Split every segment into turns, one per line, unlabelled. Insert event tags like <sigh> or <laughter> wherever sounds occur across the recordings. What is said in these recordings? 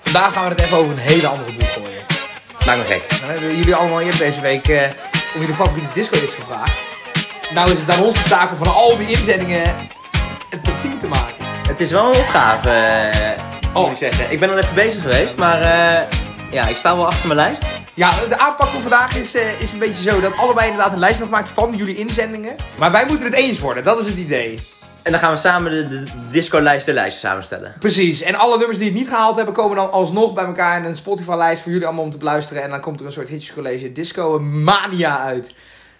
vandaag gaan we het even over een hele andere boek gooien.
Maak me gek.
Dan hebben jullie allemaal eerder deze week eh, om jullie favoriete disco is gevraagd. Nou is het aan onze taak om van al die inzendingen een top 10 te maken.
Het is wel een opgave, eh, moet
Oh.
ik zeggen. Ik ben al even bezig geweest, maar eh, ja, ik sta wel achter mijn lijst.
Ja, de aanpak van vandaag is, eh, is een beetje zo dat allebei inderdaad een lijst hebben gemaakt van jullie inzendingen. Maar wij moeten het eens worden, dat is het idee.
En dan gaan we samen de, de disco-lijst de lijstje samenstellen.
Precies, en alle nummers die het niet gehaald hebben komen dan alsnog bij elkaar in een Spotify-lijst voor jullie allemaal om te beluisteren. En dan komt er een soort hitjescollege disco mania uit.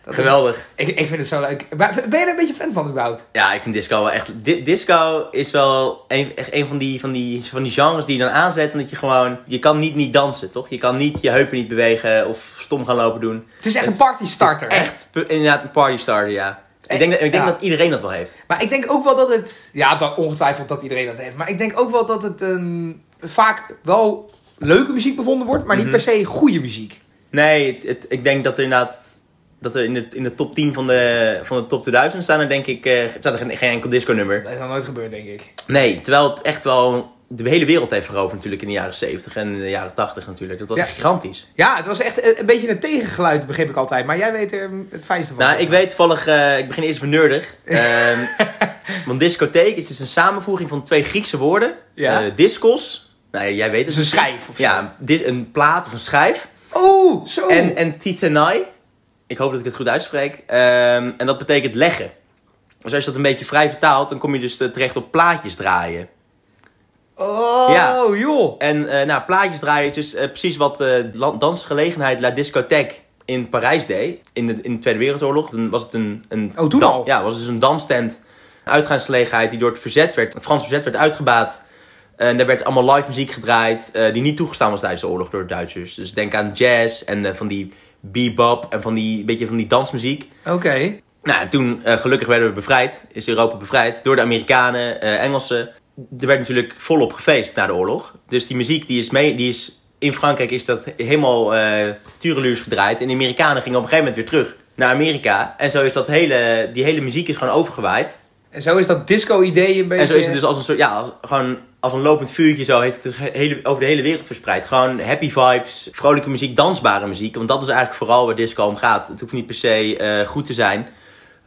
Dat is-
Geweldig.
ik, ik vind het zo leuk. Maar Ben je er een beetje fan van überhaupt?
Ja, ik vind disco wel echt... di- disco is wel een, echt een van die, van, die, van die genres die je dan aanzet en dat je gewoon... Je kan niet niet dansen, toch? Je kan niet je heupen niet bewegen of stom gaan lopen doen.
Het is echt een party-starter.
Het is echt pu- inderdaad een party starter, ja. Ik denk, dat, ik denk
Eh, Ja.
dat iedereen dat wel heeft.
Maar ik denk ook wel dat het. Ja, dan ongetwijfeld dat iedereen dat heeft. Maar ik denk ook wel dat het een, vaak wel leuke muziek bevonden wordt, maar niet per se goede muziek.
Nee, het, het- ik denk dat er inderdaad... Dat er in de, in de top 10 van de, van de top 2000 staan er denk ik... eh, staat er geen, geen enkel disco nummer.
Dat is nog nooit gebeurd, denk ik.
Nee, terwijl het echt wel de hele wereld heeft veroverd natuurlijk in de jaren 70 en de jaren 80 natuurlijk. Dat was
Ja.
echt gigantisch.
Ja, het was echt een, een beetje een tegengeluid, begreep ik altijd. Maar jij weet er het fijnste van.
Nou, ik weet toevallig, eh, ik begin eerst even nerdig. Ehm,
<laughs>
want discotheek is dus een samenvoeging van twee Griekse woorden.
Ja.
Eh, discos, nou, jij weet
Het is
het.
een schijf of zo.
Ja, een dis- een plaat of een schijf.
Oh, zo.
En, en tithenai, ik hoop dat ik het goed uitspreek. Ehm, en dat betekent leggen. Dus als je dat een beetje vrij vertaalt, dan kom je dus eh, terecht op plaatjes draaien.
oh,
Ja.
joh.
En eh, nou, plaatjes draaien is dus eh, precies wat eh, lan- dansgelegenheid La Discothèque in Parijs deed. In de, in de Tweede Wereldoorlog. Dan was het een... een
Oh, toen
dan-
al?
Ja, was het dus een danstent. Een uitgaansgelegenheid die door het verzet werd, het Franse verzet werd uitgebaat. En daar werd allemaal live muziek gedraaid eh, die niet toegestaan was tijdens de oorlog door de Duitsers. Dus denk aan jazz en eh, van die bebop en van die, beetje van die dansmuziek.
Oké.
Nou, en toen eh, gelukkig werden we bevrijd, is Europa bevrijd door de Amerikanen, eh, Engelsen. Er werd natuurlijk volop gefeest na de oorlog. Dus die muziek die is mee, die is in Frankrijk is dat helemaal eh tureluurs gedraaid. En de Amerikanen gingen op een gegeven moment weer terug naar Amerika. En zo is dat hele, die hele muziek is gewoon overgewaaid.
En zo is dat disco-idee een beetje...
En zo is het dus als een soort, ja, als, gewoon als een lopend vuurtje zo heeft het de hele, over de hele wereld verspreid. Gewoon happy vibes, vrolijke muziek, dansbare muziek. Want dat is eigenlijk vooral waar disco om gaat. Het hoeft niet per se eh, goed te zijn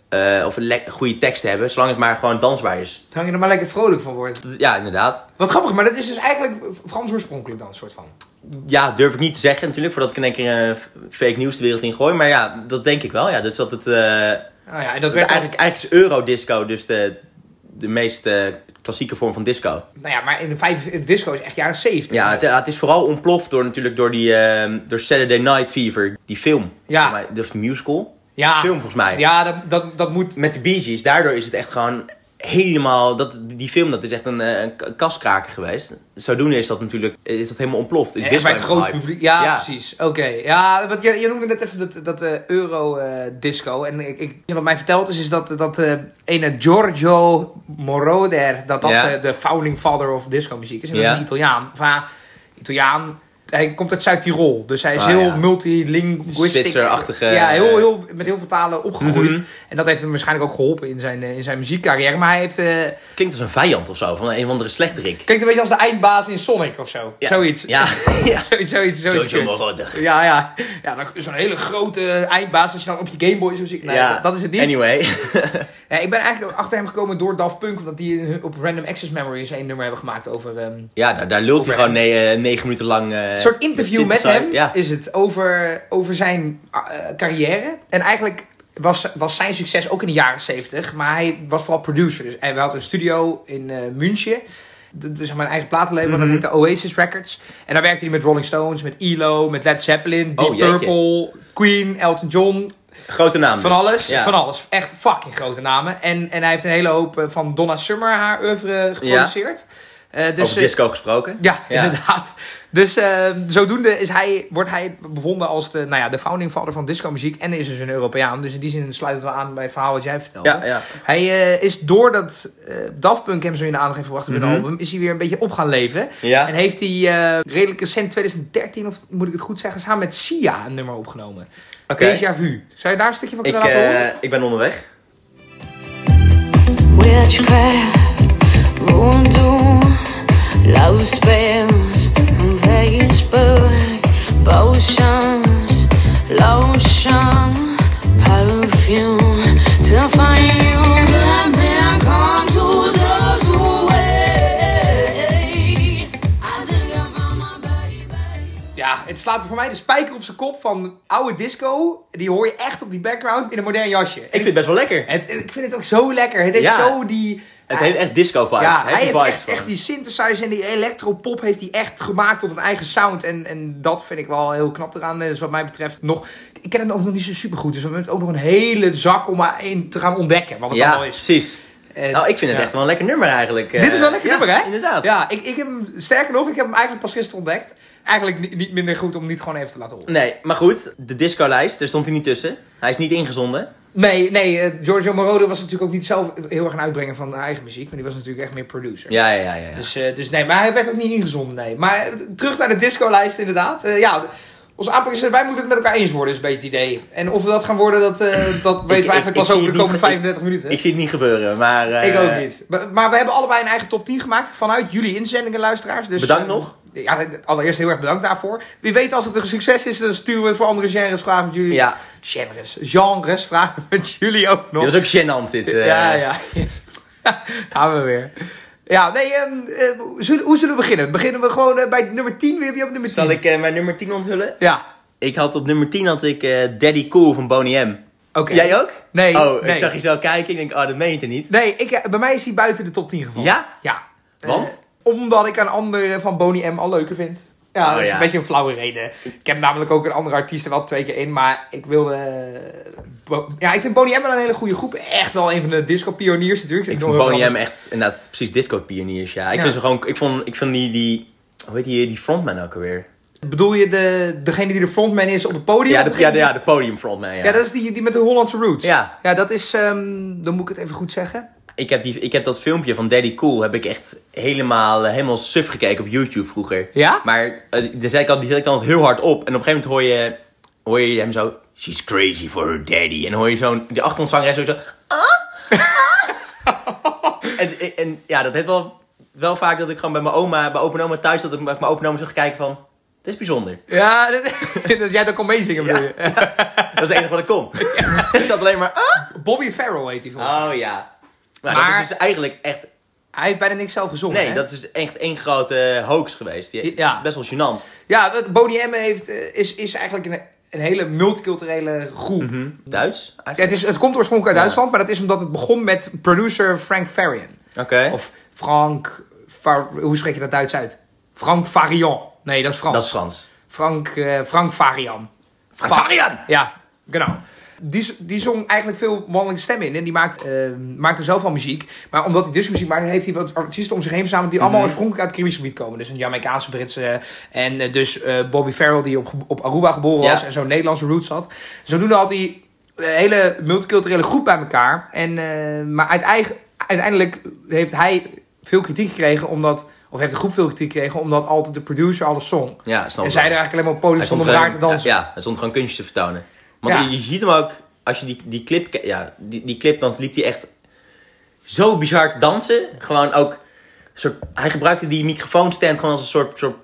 eh, of een le- goede tekst te hebben, zolang het maar gewoon dansbaar is.
Hang je er maar lekker vrolijk van wordt.
Dat- ja, inderdaad.
Wat grappig, maar dat is dus eigenlijk Frans oorspronkelijk dan, soort van. Oh
Ja, durf ik niet te zeggen natuurlijk, voordat ik in één keer eh, fake nieuws de wereld in gooi. Maar ja, dat denk ik wel. Ja, dus dat het eh,
Nou ja, en dat werd eigenlijk...
eigenlijk, eigenlijk is eurodisco dus de, de meest eh, klassieke vorm van disco.
Nou ja, maar in de vijf, in de disco is echt jaren zeventig.
Ja, het, het is vooral ontploft door natuurlijk door die ehm, door Saturday Night Fever, die film.
Ja.
Volgens mij, Dat is een musical.
ja.
Film volgens mij.
Ja, dat, dat, dat moet...
Met de Bee Gees, daardoor is het echt gewoon helemaal, dat, die film dat is echt een, eh, een k- kaskraker geweest. Zodoende is dat natuurlijk, is dat helemaal ontploft. Is
Echt
disco
Eh, bij het grote
gehyped.
publiek. Ja, precies. Oké. Ja, want je, je noemde net even dat, dat eh, euro-disco. en ik, ik, wat mij verteld is, is dat dat eh, ene Giorgio Moroder, dat dat
Ja.
eh, de founding father of disco-muziek is. En dat
Ja.
is een Italiaan. Of, ja, Italiaan. Hij komt uit Zuid-Tirol, dus hij is
Ah,
heel
ja.
multilinguistic.
Zwitserachtige,
Ja, heel,
eh,
heel, met heel veel talen opgegroeid.
Mhm.
En dat heeft hem waarschijnlijk ook geholpen in zijn, eh, in zijn muziekcarrière. Maar hij heeft, eh,
Klinkt als een vijand of zo, van een of andere slechterik.
klinkt een beetje als de eindbaas in Sonic of zo.
Ja.
Zoiets. <laughs>
Ja, ja.
Zoiets, zoiets, zoiets.
Jojo
kuts.
Moroder.
Ja, ja. ja dan- Zo'n hele grote eindbaas als je dan op je Gameboy zo ziet. Nee, dat, dat is het niet.
Anyway. <laughs>
Ja, ik ben eigenlijk achter hem gekomen door Daft Punk. Omdat die in hun- op Random Access Memories één nummer hebben gemaakt over... ehm,
Ja, daar, daar lult
Over
hij gewoon ne- eh, negen minuten lang. eh,
een soort interview met
synthesizer.
hem
Ja.
is het over, over zijn eh, carrière. En eigenlijk was, was zijn succes ook in de jaren zeventig. Maar hij was vooral producer. Dus hij had een studio in eh München. Dat was mijn eigen platenlabel, dat
Mhm.
heette Oasis Records. En daar werkte hij met Rolling Stones, met ELO, met Led Zeppelin, Deep
Oh, jeetje.
Purple, Queen, Elton John,
Grote naam.
Van
dus.
alles,
Ja.
van alles. Echt fucking grote namen. En, en hij heeft een hele hoop eh, van Donna Summer haar oeuvre geproduceerd. Eh, dus,
Over
eh,
disco gesproken.
ja,
Ja.
inderdaad. Dus eh, zodoende is hij, wordt hij bevonden als de, nou ja, de founding father van discomuziek. En is dus een Europeaan. Dus in die zin sluiten we aan bij het verhaal wat jij vertelde.
Ja, ja.
Hij eh, is doordat eh Daft Punk hem zo in de aandacht heeft gebracht met
Mhm.
een album... is hij weer een beetje op gaan leven.
Ja.
En heeft hij eh, redelijk recent, 2013 of moet ik het goed zeggen... samen met Sia een nummer opgenomen.
Oké.
Deja Vu. Zou je daar een stukje van
Ik,
kunnen laten horen?
eh, ik ben onderweg.
Witchcraft, voodoo, love spells, and
het slaat voor mij de spijker op zijn kop van oude disco. Die hoor je echt op die background in een modern jasje.
Ik vind het best wel lekker.
het, ik vind het ook zo lekker. Het heeft
Ja.
zo die...
Het heeft echt disco vibes.
Ja,
Happy
hij heeft
vibes
echt,
gewoon.
echt die synthesizer en die electropop heeft hij echt gemaakt tot een eigen sound. En, en dat vind ik wel heel knap eraan. Dus wat mij betreft nog... Ik ken het ook nog niet zo super goed. Dus we hebben ook nog een hele zak om maar in te gaan ontdekken. Wat het
Ja,
allemaal is.
precies.
En-
Nou, ik vind het
ja.
echt wel een lekker nummer eigenlijk.
Dit is wel een
Eh,
lekker
ja,
nummer, hè?
Inderdaad.
Ja, ik, ik heb hem, sterker nog, ik heb hem eigenlijk pas gisteren ontdekt. Eigenlijk ni- niet minder goed om hem niet gewoon even te laten horen.
Nee, maar goed, de discolijst, daar stond hij niet tussen. Hij is niet ingezonden.
Nee, nee, eh, Giorgio Moroder was natuurlijk ook niet zelf heel erg een uitbrenger van haar eigen muziek. Maar die was natuurlijk echt meer producer.
Ja, ja, ja. ja.
Dus, eh, dus nee, maar hij werd ook niet ingezonden, nee. Maar eh, terug naar de discolijst inderdaad. Eh, ja, onze aanpak is, eh, wij moeten het met elkaar eens worden, is een beetje het idee. En of we dat gaan worden, dat,
<clears throat>
eh, dat weten
ik-
we eigenlijk
ik
pas
zie
over de
het
komende
niet-
35 minuten.
Ik zie het niet gebeuren, maar... eh,
Ik ook niet. Maar, maar we hebben allebei een eigen top 10 gemaakt vanuit jullie inzendingen, luisteraars. Dus,
Bedankt
eh,
nog.
Ja, allereerst heel erg bedankt daarvoor. Wie weet als het een succes is, dan sturen we het voor andere genres vragen met jullie.
Ja,
Genres. Genres vragen met jullie ook nog.
dit was ook gênant dit. eh.
Ja, ja. <laughs> Gaan we weer. Ja, nee, ehm, eh, zullen- hoe zullen we beginnen? Beginnen we gewoon eh, bij nummer 10? Wie heb je op nummer 10?
Zal ik eh, mijn nummer 10 onthullen?
Ja,
Ik had op nummer 10 had ik eh, Daddy Cool van Boney M.
oké.
Jij ook?
Nee,
Oh,
nee.
ik zag je zo kijken. Ik denk, oh, dat meent je niet.
Nee, ik, eh, bij mij is hij buiten de top 10 gevallen.
Ja?
Ja.
Want?
Eh, omdat ik een andere van Boney M al leuker vind. Ja,
Oh,
dat is
ja.
een beetje een flauwe reden. Ik heb namelijk ook een andere artiest er wel twee keer in, maar ik wilde... eh, Bo- Ja, ik vind Boney M wel een hele goede groep. Echt wel een van de disco-pioniers natuurlijk.
Ik
doe
vond
heel
Boney
grappig.
M echt inderdaad precies disco-pioniers, ja. Ik
Ja.
vind ze gewoon... Ik vond, ik vond die, die... Hoe heet die, die frontman ook alweer?
Bedoel je de, degene die de frontman is op het podium?
Ja,
Of
de, ja,
degene
de, ja, de podiumfrontman, ja.
Ja, dat is die, die met de Hollandse roots.
Ja.
Ja, dat is... ehm, dan moet ik het even goed zeggen.
Ik, heb die, ik heb dat filmpje van Daddy Cool heb ik echt helemaal, eh, helemaal suf gekeken op YouTube vroeger.
Ja?
Maar eh, daar zet ik al- die zet ik al heel hard op. En op een gegeven moment hoor je, hoor je hem zo... She's crazy for her daddy. En dan hoor je zo'n... Die achtergrondzangeres zo... zo ah, ah." en, en ja, dat heeft wel, wel vaak dat ik gewoon bij mijn oma... Bij opa en oma thuis... Dat ik bij mijn opa en oma zo ga kijken van... Dit is bijzonder.
Ja, <laughs> dat, dat jij dat kon meezingen bedoel je.
Dat is het enige wat ik kon. <laughs> ik zat alleen maar... "Ah."
Bobby Farrell heet hij volgens mij.
Oh ja. Maar,
Maar-
dat is dus eigenlijk echt...
Hij heeft bijna niks zelf gezongen,
Nee,
hè?
dat is dus echt één grote hoax geweest. Die-
Ja.
Best wel gênant.
Ja, wat Boney M heeft, eh, is, is eigenlijk een, een hele multiculturele groep.
Duits?
Ja, het,
eigenlijk?
is, het komt oorspronkelijk uit
Ja.
Duitsland, maar dat is omdat het begon met producer Frank Farian.
Oké.
Of Frank... Far- hoe spreek je dat Duits uit? Frank Farian. Nee, dat is Frans.
Dat is Frans.
Frank, eh, Frank Farian.
Frank
Va-
Farian!
Ja, genau. Die, z- die zong eigenlijk veel mannelijke stemmen in. En die maakt, eh, maakte zelf al muziek. Maar omdat hij dus muziek maakt, heeft hij wat artiesten om zich heen verzameld. die
Mhm.
allemaal oorspronkelijk uit het Caribisch gebied komen. Dus een Jamaicaanse, Britse. En eh, dus eh, Bobby Farrell, die op, op Aruba geboren was.
Ja.
en zo'n Nederlandse roots had. Zodoende had hij een hele multiculturele groep bij elkaar. En, eh, maar uiteigen- uiteindelijk heeft hij veel kritiek gekregen. omdat, of heeft de groep veel kritiek gekregen. omdat altijd de producer alles zong.
Ja, snap
En
ik
zij er
wel.
eigenlijk alleen maar op het podium
Hij
stonden om
stond
daar te
gewoon-
dansen.
Ja, hij stond gewoon kunstjes te vertonen. Want
Ja.
je, je ziet hem ook, als je die, die clip... ke- Ja, die, die clip, dan liep hij echt zo bizar te dansen. Gewoon ook... Soort, hij gebruikte die microfoonstand gewoon als een soort, soort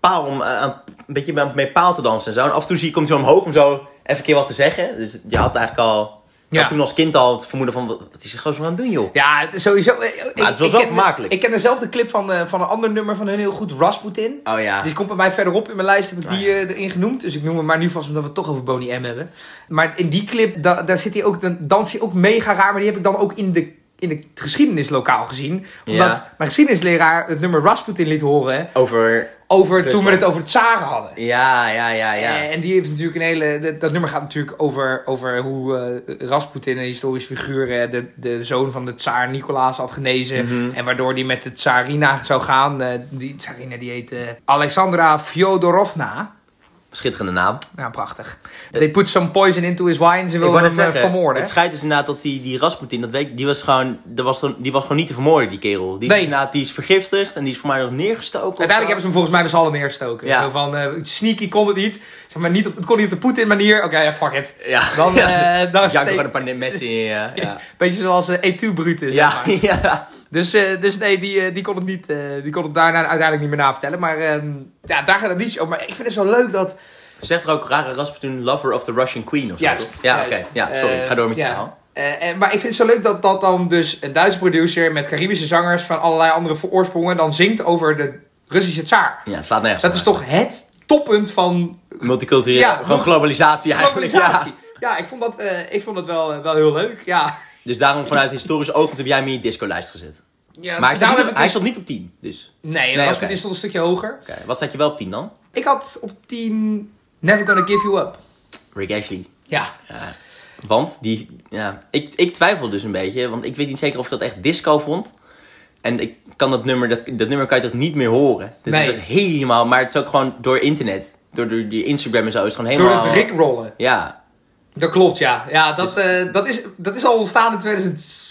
paal om eh, aan- een beetje met- met paal te dansen en zo. En af en toe zie, komt hij zo omhoog om zo even een keer wat te zeggen. Dus je had eigenlijk al... je
Ja.
had toen als kind al het vermoeden van, wat, wat is er gewoon zo aan het doen, joh?
Ja, het is sowieso. eh, Ik,
was wel
ik ken-
vermakelijk.
Ik ken dezelfde clip van, eh, van een ander nummer van hun heel goed, Rasputin.
Oh ja.
Die komt bij mij verderop in mijn lijst, heb ik die
Ah,
eh, erin genoemd. Dus ik noem hem maar nu vast, omdat we het toch over Boney M hebben. Maar in die clip, da- daar zit hij ook, dan danst hij ook mega raar. Maar die heb ik dan ook in de, in het geschiedenislokaal gezien. Omdat
Ja.
mijn geschiedenisleraar het nummer Rasputin liet horen.
Over...
Over, toen we
Rusland.
het over het Tsaren hadden.
Ja, ja, ja, ja.
Eh, En die heeft natuurlijk een hele. Dat, dat nummer gaat natuurlijk over, over hoe eh, Rasputin, een historisch figuur, eh, de, de zoon van de tsaar Nicolaas had genezen.
Mhm.
En waardoor die met de tsarina zou gaan. Eh, die tsarina die heet eh, Alexandra Fyodorovna.
Schitterende naam.
Nou, prachtig. They put some poison into his wine. Ze wilden hem
net
eh, vermoorden.
Het schijnt dus inderdaad dat die, die Rasputin, dat weet, ik, die, was gewoon, dat was, gewoon- die was gewoon niet te vermoorden, die kerel. Die,
Nee.
is inderdaad, die is vergiftigd en die is voor mij nog neergestoken.
Uiteindelijk hebben ze hem volgens mij met z'n allen neergestoken.
eh, Ja.
Zo van, eh, sneaky kon het niet. Zeg maar, niet op, het kon niet op de Poetin manier. Oké, ja, fuck it.
ze... <laughs> Ja,
Dan, eh dan
ja,
steek-
gewoon een paar messen in.
<laughs>
Ja, ja.
Beetje zoals eh Etu Brutus. zeg
ja, <laughs>
maar.
ja.
Dus, eh, dus nee, die, eh, die, kon het niet, eh, die kon het daarna uiteindelijk niet meer navertellen. Maar ehm, ja, daar gaat het niet over. Maar ik vind het zo leuk dat...
Zegt er ook rare Rasputin, lover of the Russian queen of zo,
Juist,
toch? Ja, oké.
juist.
Ja, sorry,
Eh,
ga door met je
ja.
verhaal.
Eh, en, maar ik vind het zo leuk dat, dat dan dus een Duitse producer met Caribische zangers van allerlei andere vooroorsprongen dan zingt over de Russische tsaar.
Ja, het slaat nergens
Dat is
op.
toch het toppunt van
Multicultureel,
Ja,
gewoon globalisatie eigenlijk.
globalisatie.
Ja.
Ja, ik vond dat, eh, ik vond dat wel, eh, wel heel leuk. Ja.
Dus daarom vanuit historisch oogpunt heb jij hem in je disco-lijst gezet.
Ja,
Maar
daarom
hij stond, niet,
heb ik
hij
dus-
stond niet op 10. Dus.
Nee,
Nee,
dat was
oké.
goed, die stond een stukje hoger.
Oké, Wat zat je wel op 10 dan?
Ik had op 10 Never Gonna Give You Up.
Rick Ashley.
Ja.
Ja. Want die, ja, ik, ik twijfel dus een beetje, want ik weet niet zeker of ik dat echt disco vond. En ik kan dat nummer, dat, dat nummer kan je toch niet meer horen. Dat
Nee.
is echt helemaal, maar het is ook gewoon door internet. Door, door die Instagram en zo, is het gewoon
Door
helemaal...
het rickrollen.
Ja,
Dat klopt, ja. ja dat, eh, dat, is, dat is al ontstaan in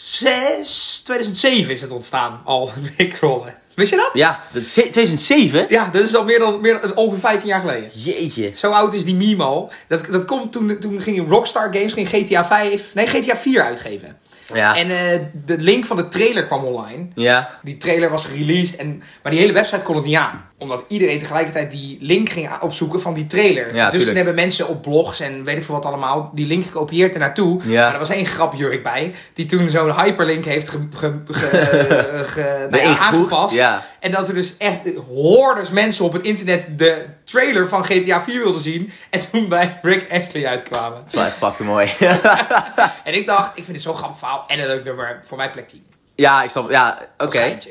2006, 2007 is het ontstaan al, <laughs> rickrollen. Wist je dat?
ja, dat is ze- 2007?
Ja, dat is al meer dan, meer dan ongeveer 15 jaar geleden.
Jeetje.
Zo oud is die meme al. Dat, dat komt toen, toen ging Rockstar Games ging GTA 5, nee GTA 4 uitgeven.
Ja,
En eh, de link van de trailer kwam online.
ja,
Die trailer was gereleased, en, maar die hele website kon het niet aan. Omdat iedereen tegelijkertijd die link ging a- opzoeken van die trailer.
Ja,
dus
tuurlijk.
toen hebben mensen op blogs en weet ik veel wat allemaal die link gekopieerd ernaartoe.
Ja.
Maar er was één grapjurk bij, die toen zo'n hyperlink heeft ge, ge, <laughs> ge- eh, ge- nou ja,
Erin gevoegd,
aangepast.
ja.
En dat er dus echt hordes mensen op het internet de trailer van GTA 4 wilden zien. En toen bij Rick Ashley uitkwamen.
dat is wel echt fucking mooi. <laughs>
En ik dacht, ik vind dit zo'n grappig verhaal en een leuk nummer. Voor mij plek 10.
ja, ik snap, ja, oké.
Als geintje.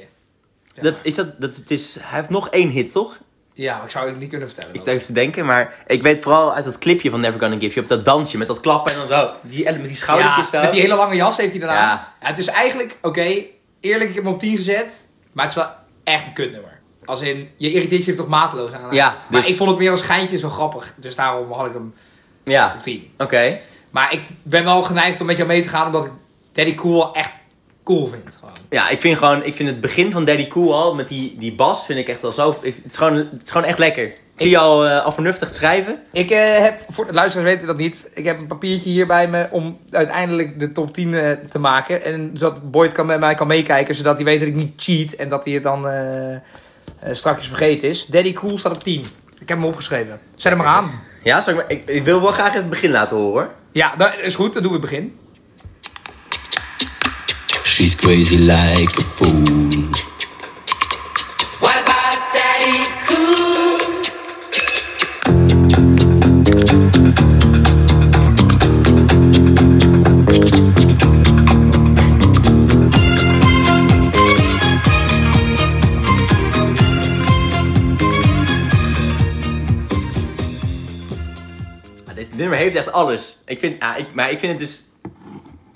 Ja.
Dat, is dat, dat, het is, hij heeft nog één hit, toch?
Ja, maar ik zou het niet kunnen vertellen.
Ik sta even te denken, maar ik weet vooral uit dat clipje van Never Gonna Give You Up, dat dansje met dat klappen en dan zo, die, met die
Ja,
schoudertjes zo.
met die hele lange jas heeft hij daarna.
Ja.
Ja. het is eigenlijk, oké, eerlijk, ik heb hem op 10 gezet. Maar het is wel echt een kutnummer. Als in, je irriteert je er toch mateloos aan.
Ja,
Maar
dus-
ik vond het meer als schijntje zo grappig. Dus daarom had ik hem
Ja,
op
oké.
10. Maar ik ben wel geneigd om met jou mee te gaan. Omdat ik Daddy Cool wel echt cool vind. Gewoon.
Ja, ik vind gewoon, ik vind het begin van Daddy Cool al, met die, die bas, vind ik echt al zo, ik- het is gewoon, het is gewoon echt lekker. Ik zie je al, eh, al vernuftig schrijven.
Ik eh, heb, voor de luisteraars weten dat niet. Ik heb een papiertje hier bij me om uiteindelijk de top 10 eh, te maken. En zodat Boyd kan met mij kan meekijken, zodat hij weet dat ik niet cheat en dat hij het dan eh, eh, straks vergeten is. Daddy Cool staat op 10. Ik heb hem opgeschreven. Zet hem maar aan.
Ja, zal ik, maar, ik, ik wil wel graag het begin laten horen hoor.
Ja, dat is goed. Dan doen we het begin.
She's crazy like a fool.
What about Daddy Cool?
Maar dit nummer heeft echt alles. Ik vind, ah, ik, maar ik vind het dus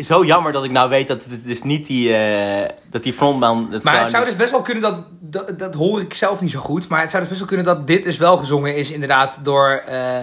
zo jammer dat ik nou weet dat het dus niet die, eh, dat die frontman het
Maar
gewoon-
het zou dus best wel kunnen dat, dat... dat hoor ik zelf niet zo goed. Maar het zou dus best wel kunnen dat dit dus wel gezongen is inderdaad door... eh,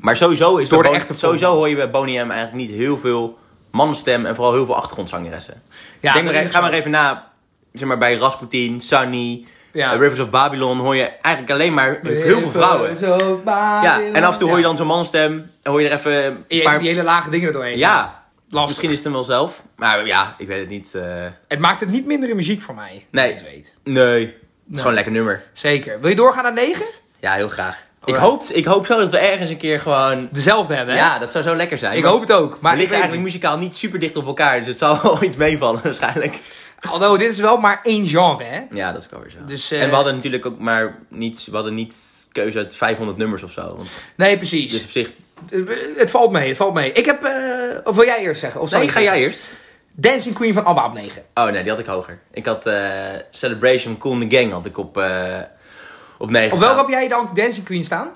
Maar sowieso is
Door
bij
de
Bon-
echte
Sowieso
vorm.
hoor je bij Boney M eigenlijk niet heel veel mannenstem en vooral heel veel achtergrondzangeressen.
Ja, dat
Denk maar,
is
even-
ook
ga
zo.
maar even na. Zeg maar bij Rasputin, Sunny,
Ja.
eh, Rivers of Babylon hoor je eigenlijk alleen maar heel veel vrouwen.
Zo
Ja, en af en toe hoor je dan zo'n mannenstem en hoor je er even een
Die,
paar...
die hele lage dingen er doorheen.
Ja,
Lastig.
misschien is het hem wel zelf. Maar ja, ik weet het niet. eh,
Het maakt het niet minder in muziek voor mij.
Nee.
dat je het weet.
nee, het is gewoon een lekker nummer.
Zeker. Wil je doorgaan naar 9?
Ja, heel graag. Ik
Alright.
hoop, ik hoop zo dat we ergens een keer gewoon...
Dezelfde hebben, hè?
Ja, dat zou zo lekker zijn.
Ik
maar-
hoop het ook. Maar
Maar
ik
ligt
weet
eigenlijk
het
muzikaal niet super dicht op elkaar, dus het zal wel <laughs> iets meevallen waarschijnlijk.
niet. Alhoewel, dit is wel maar één genre, hè?
Ja, dat is ook alweer zo.
Dus, eh,
En we hadden natuurlijk ook maar niet, we hadden niet keuze uit 500 nummers of zo. Want,
Nee, precies.
dus op zich...
Eh, Het valt mee, het valt mee. Ik heb... eh, Of wil jij eerst zeggen? Of zal
Nee,
ik
ga
eerst
jij
zeggen?
eerst?
Dancing Queen van ABBA op 9.
Oh nee, die had ik hoger. Ik had eh, Celebration Cool in the Gang had ik op, eh op 9
Op welke heb jij dan Dancing Queen staan?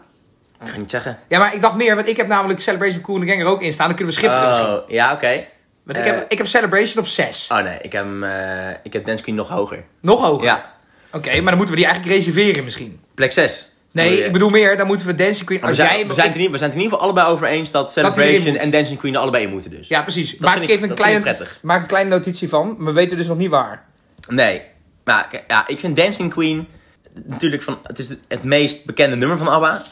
Ik ga niet zeggen.
Ja, maar ik dacht meer, want ik heb namelijk Celebration Cool in the Gang er ook in staan. Dan kunnen we schipperen misschien.
Oh, ja, oké.
Want ik,
eh,
heb, ik heb Celebration op 6.
Oh nee, ik heb, hem, eh, ik heb Dance Queen nog hoger.
Nog hoger.
Ja,
Oké, maar dan moeten we die eigenlijk reserveren misschien.
plek 6.
Nee, ik bedoel meer, dan moeten we Dancing Queen...
We
Als
zijn,
jij hem
we, zijn het in ieder- we zijn het in ieder geval allebei over eens dat
erin
Celebration
moet.
en Dancing Queen er allebei in moeten dus.
Ja, precies. maak
vind
ik
ik-
even een
dat vind ik
kleine,
prettig.
maak een kleine notitie van. Maar we weten dus nog niet waar.
Nee. Maar k- ja, ik vind Dancing Queen natuurlijk van, het is het meest bekende nummer van ABBA.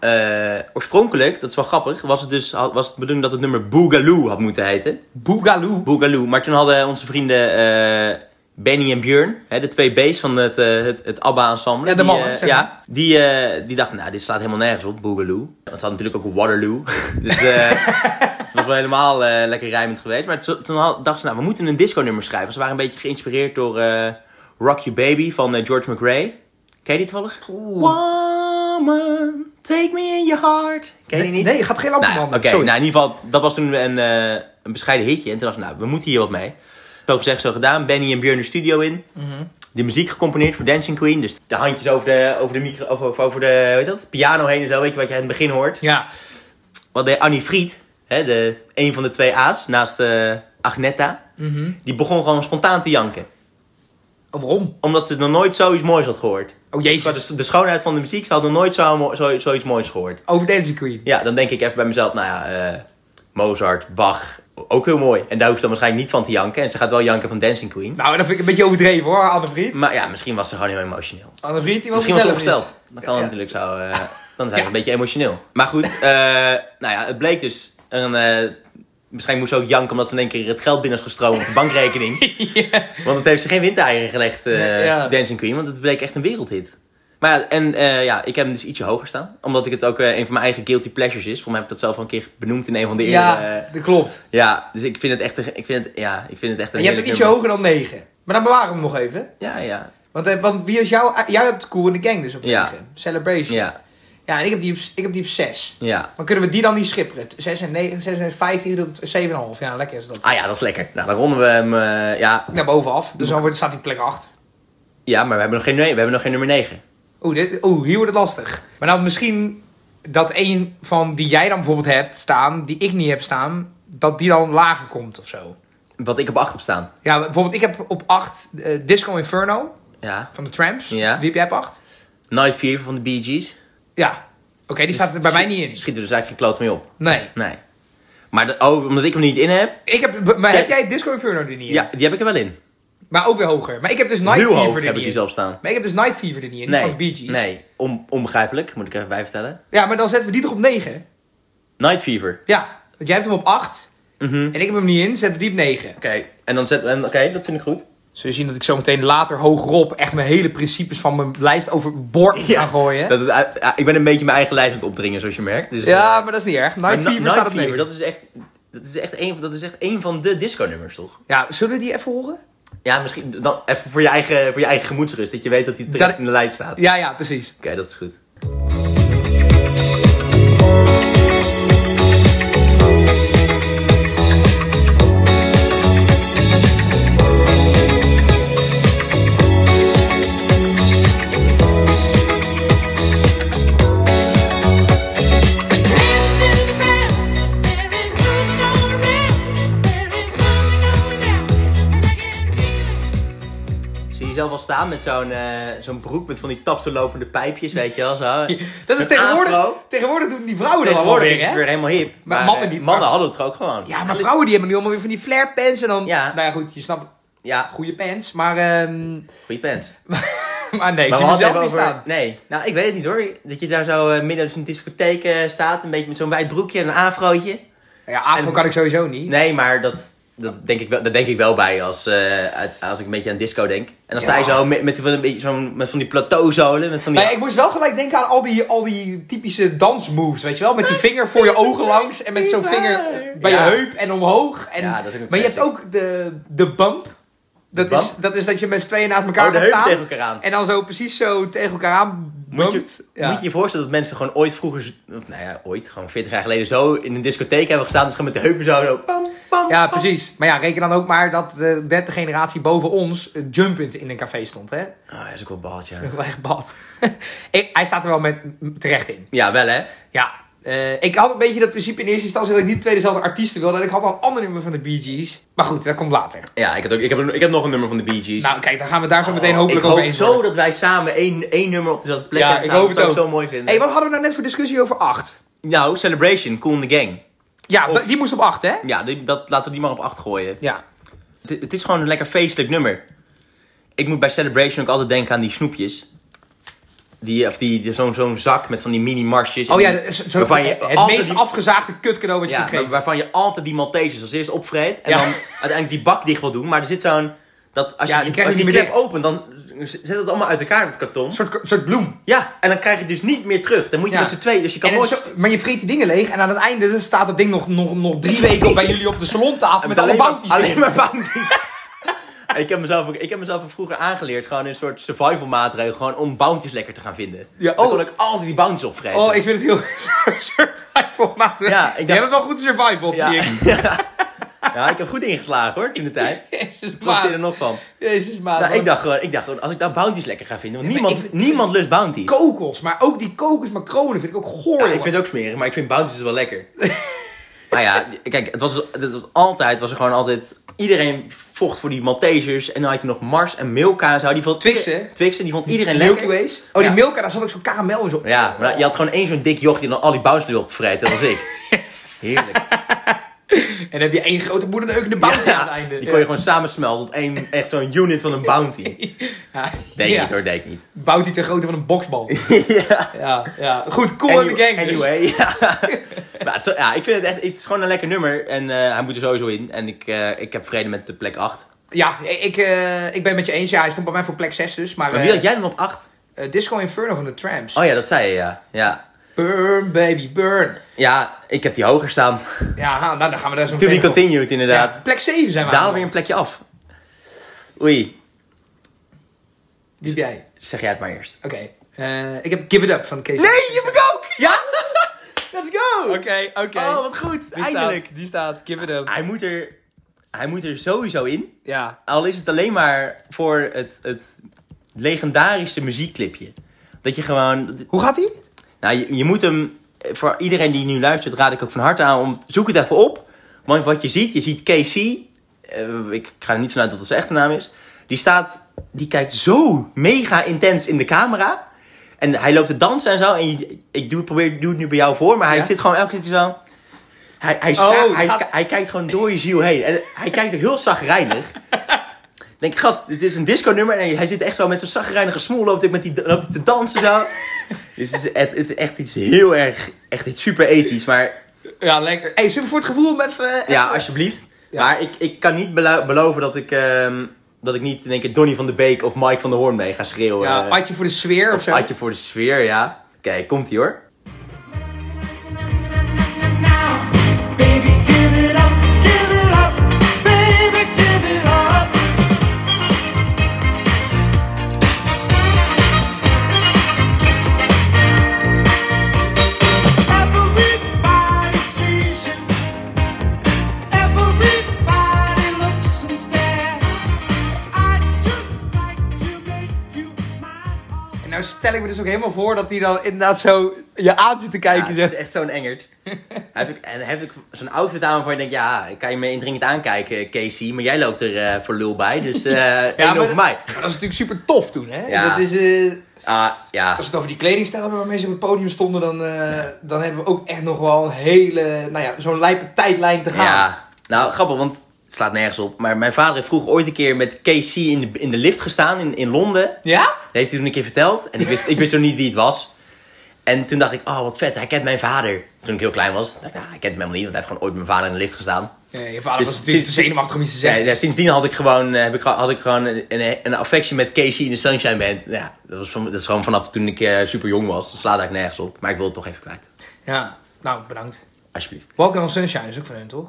Eh, oorspronkelijk, dat is wel grappig, was het dus had- was het de bedoeling dat het nummer Boogaloo had moeten heten.
Boogaloo.
Boogaloo. Maar toen hadden onze vrienden eh, Benny en Björn, hè, de twee B's van het, eh, het, het ABBA-ensemble.
Ja, de
die,
mannen,
eh,
zeg maar.
ja, die, eh, die dachten, nou, dit slaat helemaal nergens op, Boogaloo. Want het had natuurlijk ook Waterloo. <laughs> dus eh, het was wel helemaal eh, lekker rijmend geweest. Maar to- toen had- dachten ze, nou, we moeten een disco-nummer schrijven. Ze waren een beetje geïnspireerd door eh Rock Your Baby van eh, George McRae. Ken je die toevallig? Wow, Mama, take me in your heart. Ken je
Nee,
die niet?
nee, je gaat geen lampen
Nou,
branden.
oké.
Sorry.
Nou, in ieder geval, dat was toen een, eh, een bescheiden hitje. En toen dacht ik, nou, we moeten hier wat mee. Zo gezegd, zo gedaan. Benny en Björn de studio in.
Mhm.
De muziek gecomponeerd voor Dancing Queen. Dus de handjes over de, over de, micro, over, over- over de weet je dat, piano heen en zo. Weet je wat je in het begin hoort.
Ja.
Wat de Annie Fried, hè, de, een van de twee A's naast eh, Agnetta.
Mhm.
Die begon gewoon spontaan te janken.
Oh, waarom?
Omdat ze nog nooit zoiets moois had gehoord.
Oh, jezus.
De, de schoonheid van de muziek, ze had nog nooit zo, mo- zo, zoiets moois gehoord.
Over Dancing Queen.
Ja, dan denk ik even bij mezelf, nou ja, eh, Mozart, Bach, ook heel mooi. En daar hoeft ze dan waarschijnlijk niet van te janken. En ze gaat wel janken van Dancing Queen.
Nou, dat vind ik een beetje overdreven hoor, Anne-Vriend.
Maar ja, misschien was ze gewoon heel emotioneel.
Anne-Vriend, die was
Misschien was ze
mezelf niet.
opgesteld. Dat kan
Ja.
natuurlijk zo. eh, <laughs> dan zijn we
Ja.
een beetje emotioneel. Maar goed, eh, nou ja, het bleek dus. Een, eh, misschien moest ze ook janken omdat ze in één keer het geld binnen is gestroomd op de <laughs> bankrekening. Want het heeft ze geen windeieren gelegd, eh,
Nee, ja.
Dancing Queen. Want het bleek echt een wereldhit. Maar ja, en eh, ja, ik heb hem dus ietsje hoger staan. Omdat ik het ook eh, een van mijn eigen guilty pleasures is. Voor mij heb ik dat zelf al een keer benoemd in een van de eerdere... eh,
Ja, dat klopt.
ja, dus ik vind het echt een... Ik vind het, ja, ik vind het echt een
En je hebt hem
heerlijk
ietsje
nummer.
hoger dan 9. Maar dan bewaren we hem nog even.
Ja, ja.
Want, eh, want wie is jouw... Jij hebt Cool in de Gang dus op
Ja.
9. Celebration.
Ja,
Ja, en ik heb, die op, ik heb die op 6.
ja.
Dan kunnen we die dan niet schipperen. 6 en 9, 6 en 15 gedeeld 7,5. Ja, lekker is dat.
Ah ja, dat is lekker. Nou, dan ronden we hem... eh, ja,
Naar bovenaf. Dus dan wordt, staat hij op plek 8.
Ja, maar we hebben nog geen, nee, we hebben nog geen nummer 9.
Oeh, dit- oeh, hier wordt het lastig. Maar nou, misschien dat een van die jij dan bijvoorbeeld hebt staan, die ik niet heb staan, dat die dan lager komt of zo.
Wat ik op 8 heb staan.
Ja, bijvoorbeeld ik heb op 8 eh, Disco Inferno
Ja.
van de Tramps.
Ja.
Wie heb jij op 8?
Night Fear van de Bee Gees.
Ja. Oké, die staat er bij mij niet in.
Schiet er dus eigenlijk geen kloot mee op.
Nee.
Nee. Maar de, oh, omdat ik hem niet in heb?
Ik heb, maar
Zeg-
heb jij Disco Inferno er niet in?
Ja, die heb ik er wel in.
Maar ook weer hoger. Maar ik heb dus Night
Heel
Fever
hoog
er
heb ik
niet
die
in.
zelf staan.
Maar ik heb dus Night Fever er niet in, die
Nee.
van Bee Gees.
Nee. On- onbegrijpelijk, moet ik er even bij vertellen.
Ja, maar dan zetten we die toch op 9?
Night Fever. Oké.
Ja, want jij hebt hem op 8 en ik heb hem niet in, zetten we die op 9.
En dan zet... en Oké, dat vind ik goed.
Zul je zien dat ik zo meteen later hogerop echt mijn hele principes van mijn lijst overboord moet gaan gooien.
Dat het uit- ja, ik ben een beetje mijn eigen lijst aan het opdringen, zoals je merkt. Dus, eh,
ja, maar dat is niet erg.
maar
Night
Na-
Fever staat op
Fever,
9.
dat is echt... Dat is echt een, van- dat is echt een van de disco-nummers, toch?
Ja, zullen we die even horen?
Ja, misschien dan even voor je eigen, voor je eigen gemoedsrust. Dat je weet dat hij terecht
Dat-
in de lijst staat.
Ja, ja, precies.
Oké, dat is goed. Zie je zelf wel staan met zo'n eh, zo'n broek met van die tapselopende pijpjes, weet je wel
<laughs>
zo.
Dat is
Een
tegenwoordig,
afro.
tegenwoordig doen die vrouwen er allemaal
Tegenwoordig
weer,
is het
hè?
weer helemaal hip.
Maar
eh,
mannen niet, maar-
hadden het er ook gewoon.
Ja, maar vrouwen die hebben nu allemaal weer van die flare pants en dan...
Ja.
Nou ja, goed, je snapt
Ja,
goede pants, maar... ehm, <laughs>
goeie pants.
maar nee, ik
Maar
zie mezelf niet
het even
staan.
Nee, nou ik weet het niet hoor. Dat je daar zo eh, midden in een discotheek eh, staat, een beetje met zo'n wijd broekje en een afrootje.
Ja, afro
En-
kan ik sowieso niet.
Nee, maar dat, dat, denk, ik wel, dat denk ik wel bij als, eh, uit- als ik een beetje aan disco denk. En dan sta je
Ja.
zo met, met, die van een beetje zo'n- met van die plateauzolen, met van die...
Maar ik moest wel gelijk denken aan al die, al die typische dansmoves, weet je wel? Met die vinger voor je ogen langs en met zo'n vinger bij
Ja.
je heup en omhoog. En,
Ja, dat is ook een
maar je hebt
classic.
ook de, de bump. Dat,
De
Is,
bump?
dat is dat je met z'n tweeën naast elkaar
Oh, de
gaat
heup
staan.
tegen elkaar aan.
En dan zo precies zo tegen elkaar aan
Moet je,
bumpt. Ja.
moet je je voorstellen dat mensen gewoon ooit vroeger, z- of nou ja, ooit, gewoon 40 jaar geleden zo in een discotheek hebben gestaan. Dus gewoon met de heupen zo, zo pam, pam,
Ja,
pam.
precies. Maar ja, reken dan ook maar dat de derde generatie boven ons eh, jumpend in een café stond, hè?
Oh, dat is ook wel
<laughs>
bald, ja.
Ik ben echt bad. Ik- Hij staat er wel met, terecht in.
Ja, wel hè?
Ja, eh, ik had een beetje dat principe in eerste instantie dat ik niet twee dezelfde artiesten wilde. En ik had al een ander nummer van de Bee Gees. Maar goed, dat komt later.
Ja, ik, had ook, ik, heb, ik heb nog een nummer van de Bee Gees.
Nou, kijk, dan gaan we daar zo meteen
Oh, ik
hopelijk over
hoop
eens
zo dat wij samen één, één nummer op dezelfde plek
Ja,
hebben
ik
staan.
hoop
dat
het
zou ik
ook.
zo mooi vinden.
hey, wat hadden we nou net voor discussie over 8?
Nou, Celebration, Cool in the Gang.
Ja,
Of-
dat- die moest op 8, hè?
Ja, die- dat, laten we die maar op acht gooien.
Ja.
Het, het is gewoon een lekker feestelijk nummer. Ik moet bij Celebration ook altijd denken aan die snoepjes. Die, of die, die- zo'n zo'n zak met van die mini-marsjes.
Oh ja,
En die-
dat is zo,
waarvan je
het
altijd
meest
die-
afgezaagde kutcadeau wat je
Ja,
kunt geven.
maar waarvan je altijd die Maltesers als eerst opvreet. En
Ja.
dan uiteindelijk die bak dicht wil doen. Maar er zit zo'n... Dat als
Ja,
je
die
die,
krijg
als
je
je die
niet
klep
meer dicht.
opent, dan zet het allemaal uit elkaar, dat karton.
Een soort, een soort bloem.
Ja, en dan krijg je het dus niet meer terug. Dan moet je
Ja.
met z'n tweeën, dus je kan
En het
nooit...
is zo- maar je vreet die dingen leeg en aan het einde staat dat ding nog, nog, nog drie weken bij jullie op de salontafel met, alle <laughs>
alleen maar-
bounties erin.
Alleen maar bounties. en ik heb mezelf ook, ik heb mezelf ook vroeger aangeleerd, gewoon een soort survival maatregel, gewoon om bounties lekker te gaan vinden.
Ja,
Dan
oh.
kon ik altijd die bounties opvreten.
Oh, ik vind het heel <laughs> survival maatregel.
Ja, ik
Je
dacht-
hebt wel goed survival,
ja. <laughs>
zie ik.
ja, ik heb goed ingeslagen hoor, in de tijd.
Jezus,
Wat je er
maat.
nog van?
Jezus, maat.
Nou,
Wat
ik dacht gewoon, ik dacht gewoon, als ik nou bounties lekker ga vinden, want
Ja, maar
niemand,
ik-
niemand lust bounties.
kokos, maar ook die kokos makronen vind ik ook goor.
Ja,
jongen.
ik vind het ook smerig, maar ik vind bounties dus wel lekker. <laughs> maar ja, kijk, het was, het was altijd, was er gewoon altijd, iedereen vocht voor die Maltesers. En dan had je nog Mars en Milka en zo. Die vond,
Twix, hè?
Twix, en die vond iedereen
Milky
lekker.
Ways. Oh, die
Ja.
Milka, daar zat ook zo'n karamel en zo.
Ja, maar je had gewoon één zo'n dik joch die dan al die bounties wilde opvreten, dat was <laughs> ik. Heerlijk.
En dan heb je één grote moeder ook in de bounty aan het
Ja,
einde.
die kon je gewoon samensmelten tot één, echt zo'n unit van een <laughs> bounty.
Ja.
Deed
Ja.
niet hoor, deed ik niet.
Bounty ter grootte van een
<laughs>
boksbal.
ja.
ja, ja. Goed, cool in de gang. dus.
<laughs> Anyway, ja. maar het is- ja, ik vind het echt, het is gewoon een lekker nummer. En eh, hij moet er sowieso in. En ik, eh, ik heb vrede met de plek 8.
Ja, ik, eh, ik ben het met je eens. Ja, hij stond bij mij voor plek 6 dus. Maar,
Maar
eh,
wie had jij dan op 8?
eh, Disco Inferno van de Tramps.
Oh ja, dat zei je, ja. Ja,
Burn, baby, burn.
ja ik heb die hoger staan.
Ja, ha, nou, dan gaan we daar zo
To be
meteen op.
continued, inderdaad.
Ja, plek 7 zijn we
Daal
aan.
weer een plekje af. Oei,
Wie heb jij?
zeg jij het maar eerst.
Oké. Eh, ik heb Give It Up van Kees.
je heb ik ook! Ja! <laughs> Let's go!
oké.
Oh, wat goed. Eindelijk.
Eindelijk. Die staat, Give It Up.
Hij moet, er, hij moet er sowieso in.
Ja.
Al is het alleen maar voor het, het legendarische muziekclipje. Dat je gewoon...
Hoe gaat hij?
Nou, je, je moet hem... eh, Voor iedereen die nu luistert, raad ik ook van harte aan om... Zoek het even op. Want wat je ziet, je ziet KC. eh, ik ga er niet vanuit dat dat zijn echte naam is. Die staat... Die kijkt zo mega intens in de camera. En hij loopt te dansen en zo. En je- ik doe, probeer, doe het nu bij jou voor. Maar hij
Ja.
zit gewoon elke keer zo... Hij, hij,
Oh,
stra-
het
hij,
gaat-
ki- hij kijkt gewoon door je ziel heen. En hij kijkt ook heel zagrijnig. Denk, ik, gast, dit is een disco nummer. En hij zit echt zo met zo'n zagrijnige smoel. Loopt hij, met die, loopt hij te dansen zo. dus het is echt, het is echt iets heel erg... Echt iets super ethisch. Maar
Ja, lekker. hey, zullen we voor het gevoel hem even... eh,
ja, alsjeblieft.
Ja.
Maar ik, ik kan niet belo- beloven dat ik... ehm, dat ik niet in één keer Donny van de Beek of Mike van der Hoorn mee ga schreeuwen.
Ja,
Eh,
Adje voor de sfeer of
of
zo.
Adje voor de sfeer, ja. Kijk, komt ie hoor.
Baby, give it up, give it up, baby, give it up. Everybody sees you. Everybody looks and stares. I just like to make you mine all
En nou stel ik me dus ook helemaal voor dat hij dan inderdaad zo je aan zit te
Ja,
kijken.
het
zegt,
is echt zo'n engert. hij heeft ook, en hij heeft ook zo'n outfit aan waarvan je denkt, ja, ik kan je me indringend aankijken, Casey. Maar jij loopt er eh, voor lul bij, dus eh één nul
maar
voor mij.
Dat is natuurlijk super tof toen, hè?
Ja.
Dat is, eh,
Ah, ja.
als we het over die kledingstijl hebben waarmee ze op het podium stonden, dan, eh, dan hebben we ook echt nog wel een hele, nou ja, zo'n lijpe tijdlijn te gaan.
ja. Nou, grappig, want het slaat nergens op. Maar mijn vader heeft vroeger ooit een keer met Casey in de, in de lift gestaan in, in Londen.
Ja?
Dat heeft hij toen een keer verteld. En ik wist, ik wist toen niet wie het was. En toen dacht ik, oh wat vet, hij kent mijn vader. Toen ik heel klein was, dacht ik, nou, hij kent hem helemaal niet, want hij heeft gewoon ooit met mijn vader in de lift gestaan.
Nee, je vader
Dus-
was natuurlijk te zenuwachtig om iets te
Ja,
zeggen.
ja, sindsdien had ik gewoon, eh, heb ik, gewoon- had ik gewoon een, een, een affectie met Casey in de Sunshine Band. Ja, dat, was van, dat is gewoon vanaf toen ik eh, super jong was. Dat slaat eigenlijk nergens op. Maar ik wil het toch even kwijt.
Ja, nou, bedankt.
Alsjeblieft.
Welcome on Sunshine is ook van hun, toch?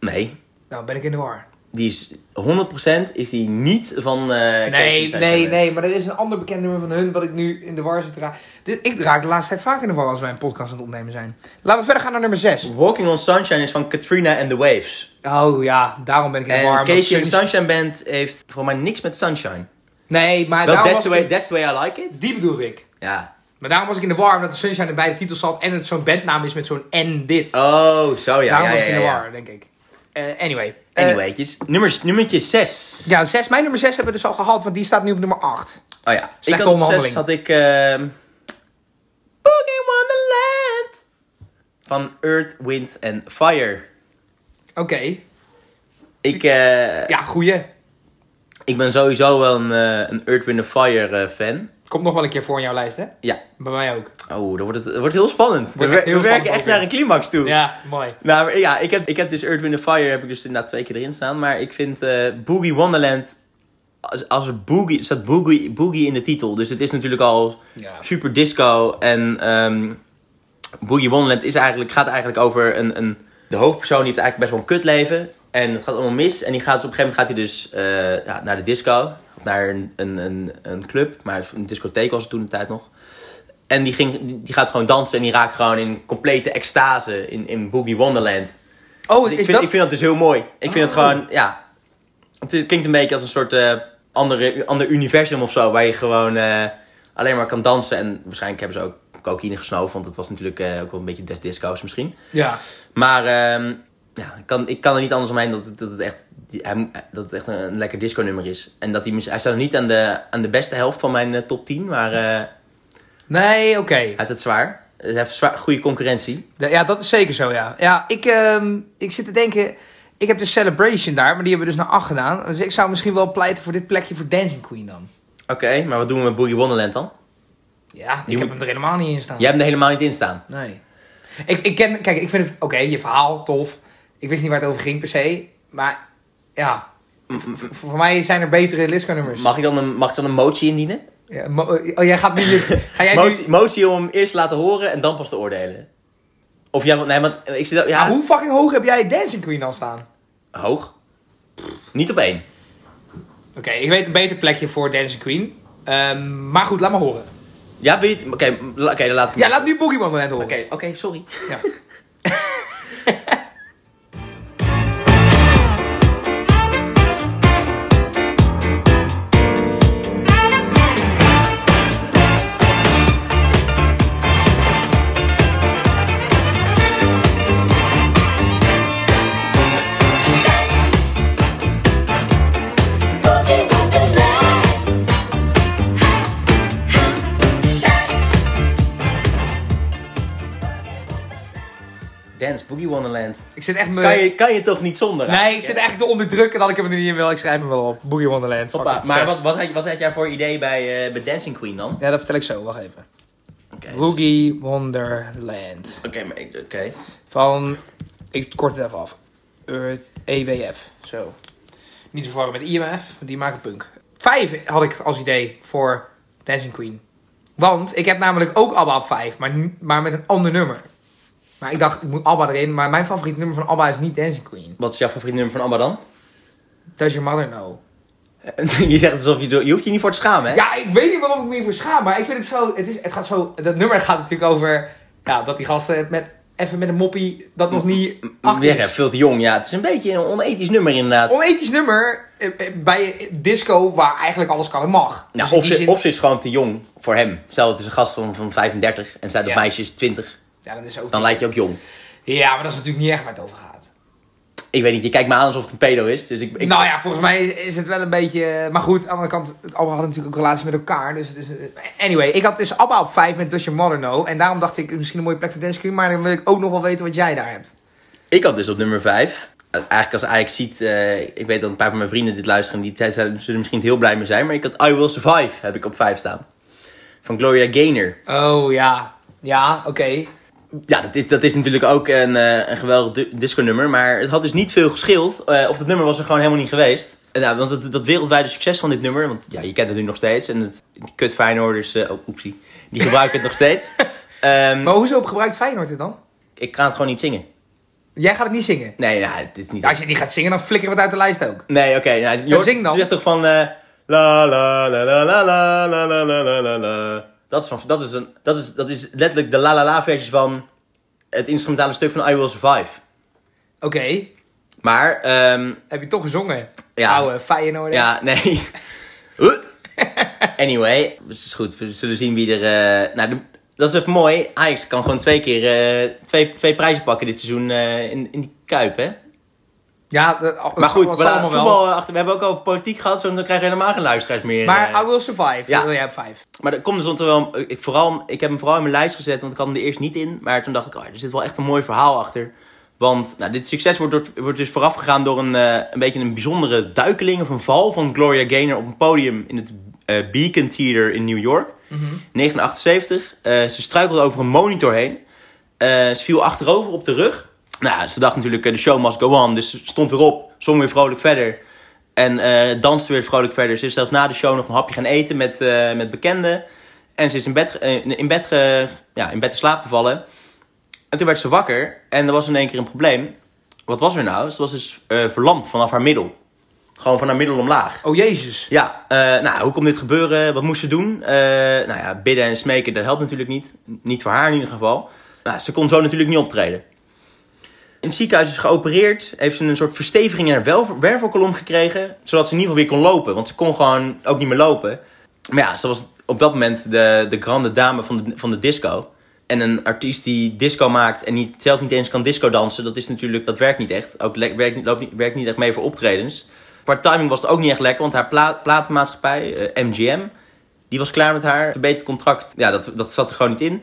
Nee,
Nou, ben ik in de war.
die is 100% is die niet van eh, Casey in de
Nee,
Sunshine
nee,
Band.
nee, maar er is een ander bekend nummer van hun wat ik nu in de war zit te raken. Dit- Ik raak de laatste tijd vaak in de war als wij een podcast aan het opnemen zijn. Laten we verder gaan naar nummer 6.
Walking on Sunshine is van Katrina and the Waves.
Oh ja, daarom ben ik in de
En
war. omdat
Casey in de
Sun-
Sunshine Band heeft voor mij niks met Sunshine.
Nee, maar
Wel,
daarom
that's,
was
the
ik
way,
in-
that's the way I like it.
die bedoel ik.
Ja.
Maar daarom was ik in de war omdat de Sunshine in beide titels zat en het zo'n bandnaam is met zo'n en dit.
Oh, zo
daarom
ja. ja,
was
ja,
ik in de
ja, ja.
war, denk ik. Eh, anyway. Eh,
Anywaytjes. Nummers, nummertje 6.
ja, zes, mijn nummer 6 hebben we dus al gehad, want die staat nu op nummer 8.
Oh ja.
Slechte
ik had op
onderhandeling.
zes had ik... ehm Boogie Wonderland. Van Earth, Wind and Fire.
Oké,
Ik, eh,
ja, goeie.
ik ben sowieso wel een, eh, een Earth, Wind and Fire eh, fan.
Komt nog wel een keer voor in jouw lijst, hè?
Ja.
Bij mij ook.
Oh, dan wordt het, het wordt heel spannend. we
echt
wer-
heel
we werken
spannend
echt
ook weer.
naar een climax toe.
Ja, mooi.
Nou, maar ja, ik heb, ik heb dus Earth, Wind and Fire heb ik dus inderdaad twee keer erin staan. Maar ik vind eh, Boogie Wonderland... Als, als er boogie, staat boogie, boogie in de titel. Dus het is natuurlijk al
Ja.
super disco. En ehm Boogie Wonderland is eigenlijk, gaat eigenlijk over een, een... De hoofdpersoon die heeft eigenlijk best wel een kutleven. En het gaat allemaal mis. En die gaat, dus op een gegeven moment gaat hij dus eh, ja, naar de disco. Of naar een, een, een, een club. Maar een discotheek was het toen de tijd nog. En die, ging, die- die gaat gewoon dansen. En die raakt gewoon in complete extase. In, in Boogie Wonderland.
Oh,
Dus ik,
is
vind,
dat...
ik vind dat dus heel mooi. Ik vind het
Oh.
gewoon, ja. Het is- klinkt een beetje als een soort eh, andere, ander universum of zo. Waar je gewoon eh, alleen maar kan dansen. En waarschijnlijk hebben ze ook cocaïne gesnoven. Want dat was natuurlijk eh, ook wel een beetje des disco's misschien.
Ja.
Maar ehm, ja, ik, kan, ik kan er niet anders omheen dat, het- dat het echt, die- hij- dat het echt een, een lekker disco nummer is. En dat hij, mis- hij staat nog niet aan de, aan de beste helft van mijn eh, top 10. Maar eh, hij
Nee, oké.
heeft het zwaar. Hij heeft zwaar, goede concurrentie.
De- Ja, dat is zeker zo, ja. Ja, ik, ehm, ik zit te denken... Ik heb de Celebration daar, maar die hebben we dus naar 8 gedaan. Dus ik zou misschien wel pleiten voor dit plekje voor Dancing Queen dan.
Oké, maar wat doen we met Boogie Wonderland dan?
Ja,
Je
ik
moet-
heb hem er helemaal niet in staan.
Jij hebt hem er helemaal niet in staan.
Nee. Ik, ik ken... Kijk, ik vind het... Oké, je verhaal, tof. Ik wist niet waar het over ging per se. Maar ja... v- v- Voor mij zijn er betere Lisco-nummers.
Mag ik dan een, mag ik dan een motie indienen?
Ja, mo- oh, jij gaat nu... Ga jij nu...
Motie, motie om hem eerst te laten horen en dan pas te oordelen. Of ja, want, nee, want ik zit... al- Ja,
Ja, Ah, hoe fucking hoog heb jij Dancing Queen dan staan?
Hoog. Niet op één.
Oké, ik weet een beter plekje voor Dancing Queen. Ehm, maar goed, laat maar horen.
Ja, weet je... Oké, la- oké, dan laat ik hem-
Ja, laat nu Boogie Wonderland horen.
Oké, oké, sorry.
Ja.
Dance Boogie Wonderland.
Ik zit echt me...
Kan je, kan je toch niet zonder? hè?
Nee, ik zit echt te onderdrukken dat ik hem er niet in wil. Ik schrijf hem wel op. Boogie Wonderland. Fuck
Hoppa.
it,
Maar
zes.
wat, wat, had, wat had jij voor idee bij, eh, bij Dancing Queen dan?
Ja, dat vertel ik zo. Wacht even.
Oké,
Boogie Wonderland.
Oké, maar ik- oké.
Van... Ik kort het even af. Earth EWF. Zo. Niet te verwarren met IMF. want Die maken punk. Vijf had ik als idee voor Dancing Queen. Want ik heb namelijk ook ABBA op vijf. Maar, n- maar met een ander nummer. Maar ik dacht, ik moet ABBA erin. Maar mijn favoriete nummer van ABBA is niet Dancing Queen.
Wat is jouw favoriet nummer van ABBA dan? <laughs>
Does your mother know?
je zegt alsof je... Je hoeft je niet voor te schamen, hè?
Ja, ik weet niet waarom ik me hiervoor schaam, maar ik vind het zo... Het, is, het gaat zo... Dat nummer gaat natuurlijk over... Ja, dat die gasten met, even met een moppie dat nog niet
Ach,
achter is.
veel te jong. Ja, het is een beetje een onethisch nummer inderdaad.
Onethisch nummer eh, eh, bij disco waar eigenlijk alles kan en mag.
Nou,
Dus in
of,
die
ze,
zin-
of ze is gewoon te jong voor hem. Stel, het is een gast van, van 35 en zij dat
Ja.
meisje is 20.
ja, dat is ook
Dan lijkt je ook jong.
ja, maar dat is natuurlijk niet echt waar het over gaat.
Ik weet niet, je kijkt me aan alsof het een pedo is. Dus ik, ik,
Nou ja, volgens mij is het wel een beetje... Maar goed, aan de andere kant, Abba hadden natuurlijk ook relaties met elkaar. Dus het is... eh, Anyway, ik had dus Abba op 5 met Does Your Mother Know. En daarom dacht ik, misschien een mooie plek voor Dance Queen. Maar dan wil ik ook nog wel weten wat jij daar hebt.
ik had dus op nummer 5. Eigenlijk als Ajax ziet, eh, ik weet dat een paar van mijn vrienden dit luisteren. Die zijn- zullen er misschien heel blij mee zijn. Maar ik had I Will Survive, heb ik op 5 staan. Van Gloria Gaynor.
Oh, ja. Ja, oké.
Ja, dat is, dat is natuurlijk ook een, eh, een geweldig du- disco-nummer. Maar het had dus niet veel geschild. eh, of dat nummer was er gewoon helemaal niet geweest. En nou, want het, dat wereldwijde succes van dit nummer. Want ja, je kent het nu nog steeds. En het, die kut Feyenoorders. eh, oh, oepsie. Die gebruiken het nog
<laughs>
steeds. Ehm,
Maar hoezo gebruikt Feyenoord het dan?
ik kan het gewoon niet zingen.
Jij gaat het niet zingen.
Nee, nou, dit is niet.
Ja, als je het niet gaat zingen, dan flikkeren we het uit de lijst ook.
Nee, oké. nou, je hoort-
zing dan.
Ze zegt toch van. eh, La la la la la la la la la la la la. Dat is, van, dat, is een, dat, is, dat is letterlijk de la la la versie van het instrumentale stuk van I Will Survive.
Oké,
Maar, ehm,
heb je toch gezongen?
Ja.
Oude Feyenoord.
Ja, nee. <laughs> Huh? anyway, het is goed. We zullen zien wie er... eh, Nou, de- dat is even mooi. Ajax kan gewoon twee keer eh, twee, twee prijzen pakken dit seizoen eh, in, in die Kuip, hè?
Ja, dat,
Maar goed,
we
we, laten
allemaal wel.
voetbal achter. We hebben ook over politiek gehad, zo dan krijgen we helemaal geen luisteraars meer.
Maar
eh.
I Will Survive,
Ja.
ja. wil jij op vijf.
maar er komt dus omdat er wel... Ik, vooral, ik heb hem vooral in mijn lijst gezet, want ik had hem er eerst niet in. Maar toen dacht ik, oh, er zit wel echt een mooi verhaal achter. Want nou, dit succes wordt, door, wordt dus vooraf gegaan door een, eh, een beetje een bijzondere duikeling of een val van Gloria Gaynor op een podium in het eh, Beacon Theater in New York. 1978. Eh, ze struikelde over een monitor heen. Eh, ze viel achterover op de rug. Nou, ze dacht natuurlijk, eh, de show must go on. Dus ze stond weer op, zong weer vrolijk verder. En eh danste weer vrolijk verder. Ze is zelfs na de show nog een hapje gaan eten met, eh, met bekenden. En ze is in bed, ge- eh, in, bed ge- ja, in bed te slaap gevallen. En toen werd ze wakker. En er was in één keer een probleem. wat was er nou? Ze was dus eh, verlamd vanaf haar middel. Gewoon van haar middel omlaag.
Oh jezus.
Ja, eh, nou, hoe kon dit gebeuren? Wat moest ze doen? Eh, nou ja, bidden en smeken, dat helpt natuurlijk niet. Niet voor haar in ieder geval. Nou, ze kon zo natuurlijk niet optreden. In het ziekenhuis is ze geopereerd. Heeft ze een soort versteviging in haar wel- wervelkolom gekregen. Zodat ze in ieder geval weer kon lopen. Want ze kon gewoon ook niet meer lopen. Maar ja, ze was op dat moment de, de grande dame van de, van de disco. En een artiest die disco maakt en niet, zelf niet eens kan disco dansen. Dat, is natuurlijk, dat werkt niet echt. Ook le- werkt, niet- loopt niet, werkt niet echt mee voor optredens. Qua timing was het ook niet echt lekker. Want haar pla platenmaatschappij, eh, MGM, die was klaar met haar. Verbeterd contract. Ja, dat, dat zat er gewoon niet in.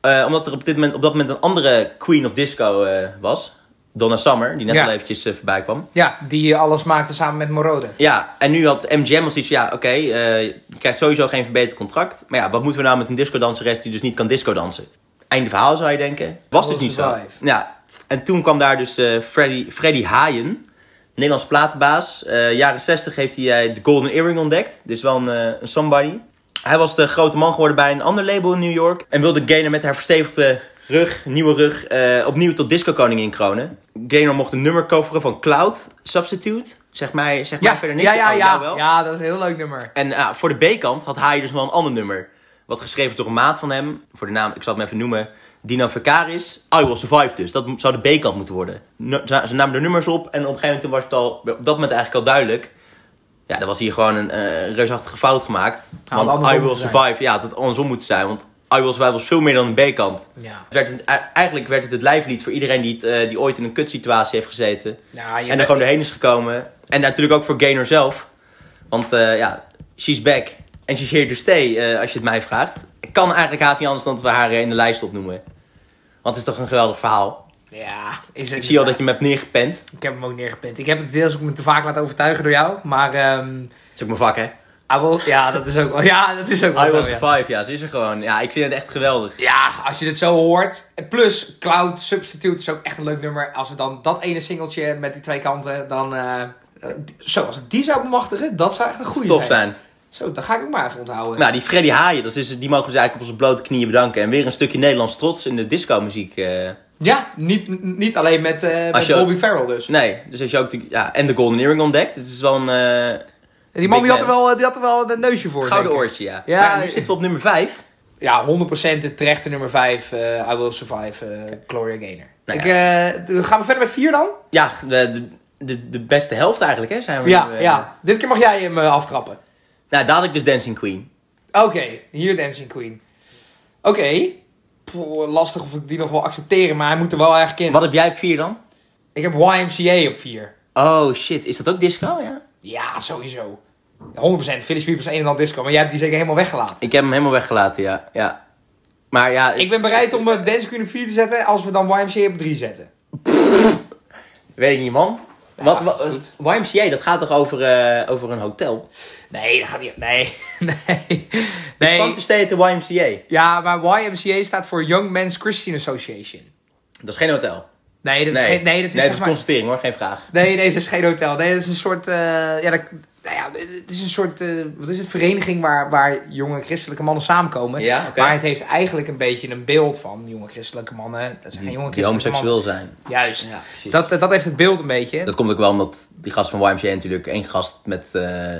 Eh, omdat er op, dit moment, op dat moment een andere queen of disco eh, was. Donna Summer, die net
Ja.
al eventjes eh, voorbij kwam.
Ja, die eh, alles maakte samen met Morode.
Ja, en nu had MGM al zoiets van, ja, oké, eh, je krijgt sowieso geen verbeterd contract. Maar ja, wat moeten we nou met een discodanseres die dus niet kan discodansen? Einde verhaal zou je denken. Was dus
was
niet
het wel
zo.
even.
Ja, en toen kwam daar dus eh, Freddy, Freddy Haaien, Nederlands platenbaas. Eh, jaren 60 heeft hij eh, de Golden Earring ontdekt, dus wel een, eh, een somebody. Hij was de grote man geworden bij een ander label in New York. En wilde Gaynor met haar verstevigde rug, nieuwe rug, eh, opnieuw tot discokoningin kronen. Gaynor mocht een nummer coveren van Cloud Substitute. Zeg mij, zeg mij
Ja,
verder niks.
ja, ja,
Oh,
ja,
jou wel.
ja, dat is een heel leuk nummer.
En ah, voor de B-kant had hij dus wel een ander nummer. Wat geschreven is door een maat van hem. Voor de naam, ik zal het hem even noemen. Dino Vicaris. I Will Survive dus. Dat zou de B-kant moeten worden. No- ze ze namen de nummers op. En op een gegeven moment toen was het al, op dat moment eigenlijk al duidelijk. Ja, er was hier gewoon een eh, reusachtige fout gemaakt.
had
want
andersom
I Will
moeten
Survive, ja, het had andersom moeten zijn. Want I Will Survive was veel meer dan een B-kant.
Ja.
Het werd een- e- eigenlijk werd het het lijflied voor iedereen die, het, eh, die ooit in een kutsituatie heeft gezeten.
Ja, je
en er
bent-
gewoon doorheen is gekomen. En natuurlijk ook voor Gaynor zelf. Want eh, ja, she's back. En she's here to stay, eh, als je het mij vraagt. Ik kan eigenlijk haast niet anders dan dat we haar eh, in de lijst opnoemen. Want het is toch een geweldig verhaal.
Ja, is
Ik zie al dat je me hebt neergepend.
Ik heb hem ook neergepint. Ik heb het deels ook me te vaak laten overtuigen door jou, maar... ehm,
Dat is ook mijn vak, hè?
I will- ja, dat is ook wel, ja, dat is ook wel
I
zo,
Will
ja.
Survive, ja, ze is er gewoon. Ja, ik vind het echt geweldig.
Ja, als je dit zo hoort. Plus, Cloud Substitute is ook echt een leuk nummer. Als we dan dat ene singeltje met die twee kanten, dan... eh, eh, d- zo, als ik die zou bemachtigen, dat zou echt een goede
Tof zijn.
Zo, dat ga ik ook maar even onthouden.
Nou, die Freddy Haaien, dat is, die mogen we dus eigenlijk op onze blote knieën bedanken. En weer een stukje Nederlands trots in de disco-muziek. eh.
Ja, niet, n- niet alleen met, eh met
Als je-
Bobby Farrell dus.
Nee, dus als je ook de, ja, en de Golden Earring ontdekt. Het is wel een eh,
Die man die
Big
had, er wel, eh, die had er wel een neusje voor.
gouden
denk ik.
oortje, ja.
Ja,
Maar nu
eh,
zitten we op nummer 5.
Ja, 100% de terechte nummer 5. I Will Survive, eh, Gloria Gaynor.
Nou
ik, eh, gaan we verder met 4 dan?
Ja, de, de, de beste helft eigenlijk, hè? Zijn we
ja,
nu, eh,
ja. Dit keer mag jij hem eh, aftrappen.
Nou, dadelijk dus Dancing Queen.
Oké, hier Dancing Queen. Oké. Poeh, Lastig of ik die nog wil accepteren, maar hij moet er wel eigenlijk in.
Wat heb jij op 4 dan?
Ik heb YMCA op 4.
Oh shit, is dat ook disco? Oh, Ja.
Ja, sowieso. 100%. Philly Spears een en al disco, maar jij hebt die zeker helemaal weggelaten.
Ik heb hem helemaal weggelaten, ja. ja. Maar ja,
Ik ben bereid om eh, Dancing Queen op 4 te zetten als we dan YMCA op 3 zetten.
weet ik niet, man. Wat,
Ja,
wat-
goed.
YMCA, dat gaat toch over, eh, over een hotel?
Nee, dat gaat niet. Nee. <laughs> nee.
Nee. Van te
nee.
steden de YMCA.
Ja, maar YMCA staat voor Young Men's Christian Association.
Dat is geen hotel.
Nee, dat is geen. Nee, dat is, zeg
een
maar-
constatering hoor, geen vraag.
Nee, nee, het is geen hotel. Nee, het is een soort. eh, ja, dat, nou ja, het is een soort. eh, wat is het? Vereniging waar, waar jonge christelijke mannen samenkomen.
Ja, oké.
Maar het heeft eigenlijk een beetje een beeld van jonge christelijke mannen. Dat zijn geen jonge
Die
christelijke mannen.
homoseksueel zijn.
Juist.
Ja, precies.
dat, eh, dat heeft het beeld een beetje.
Dat komt ook wel omdat die gast van YMCA natuurlijk één gast met eh,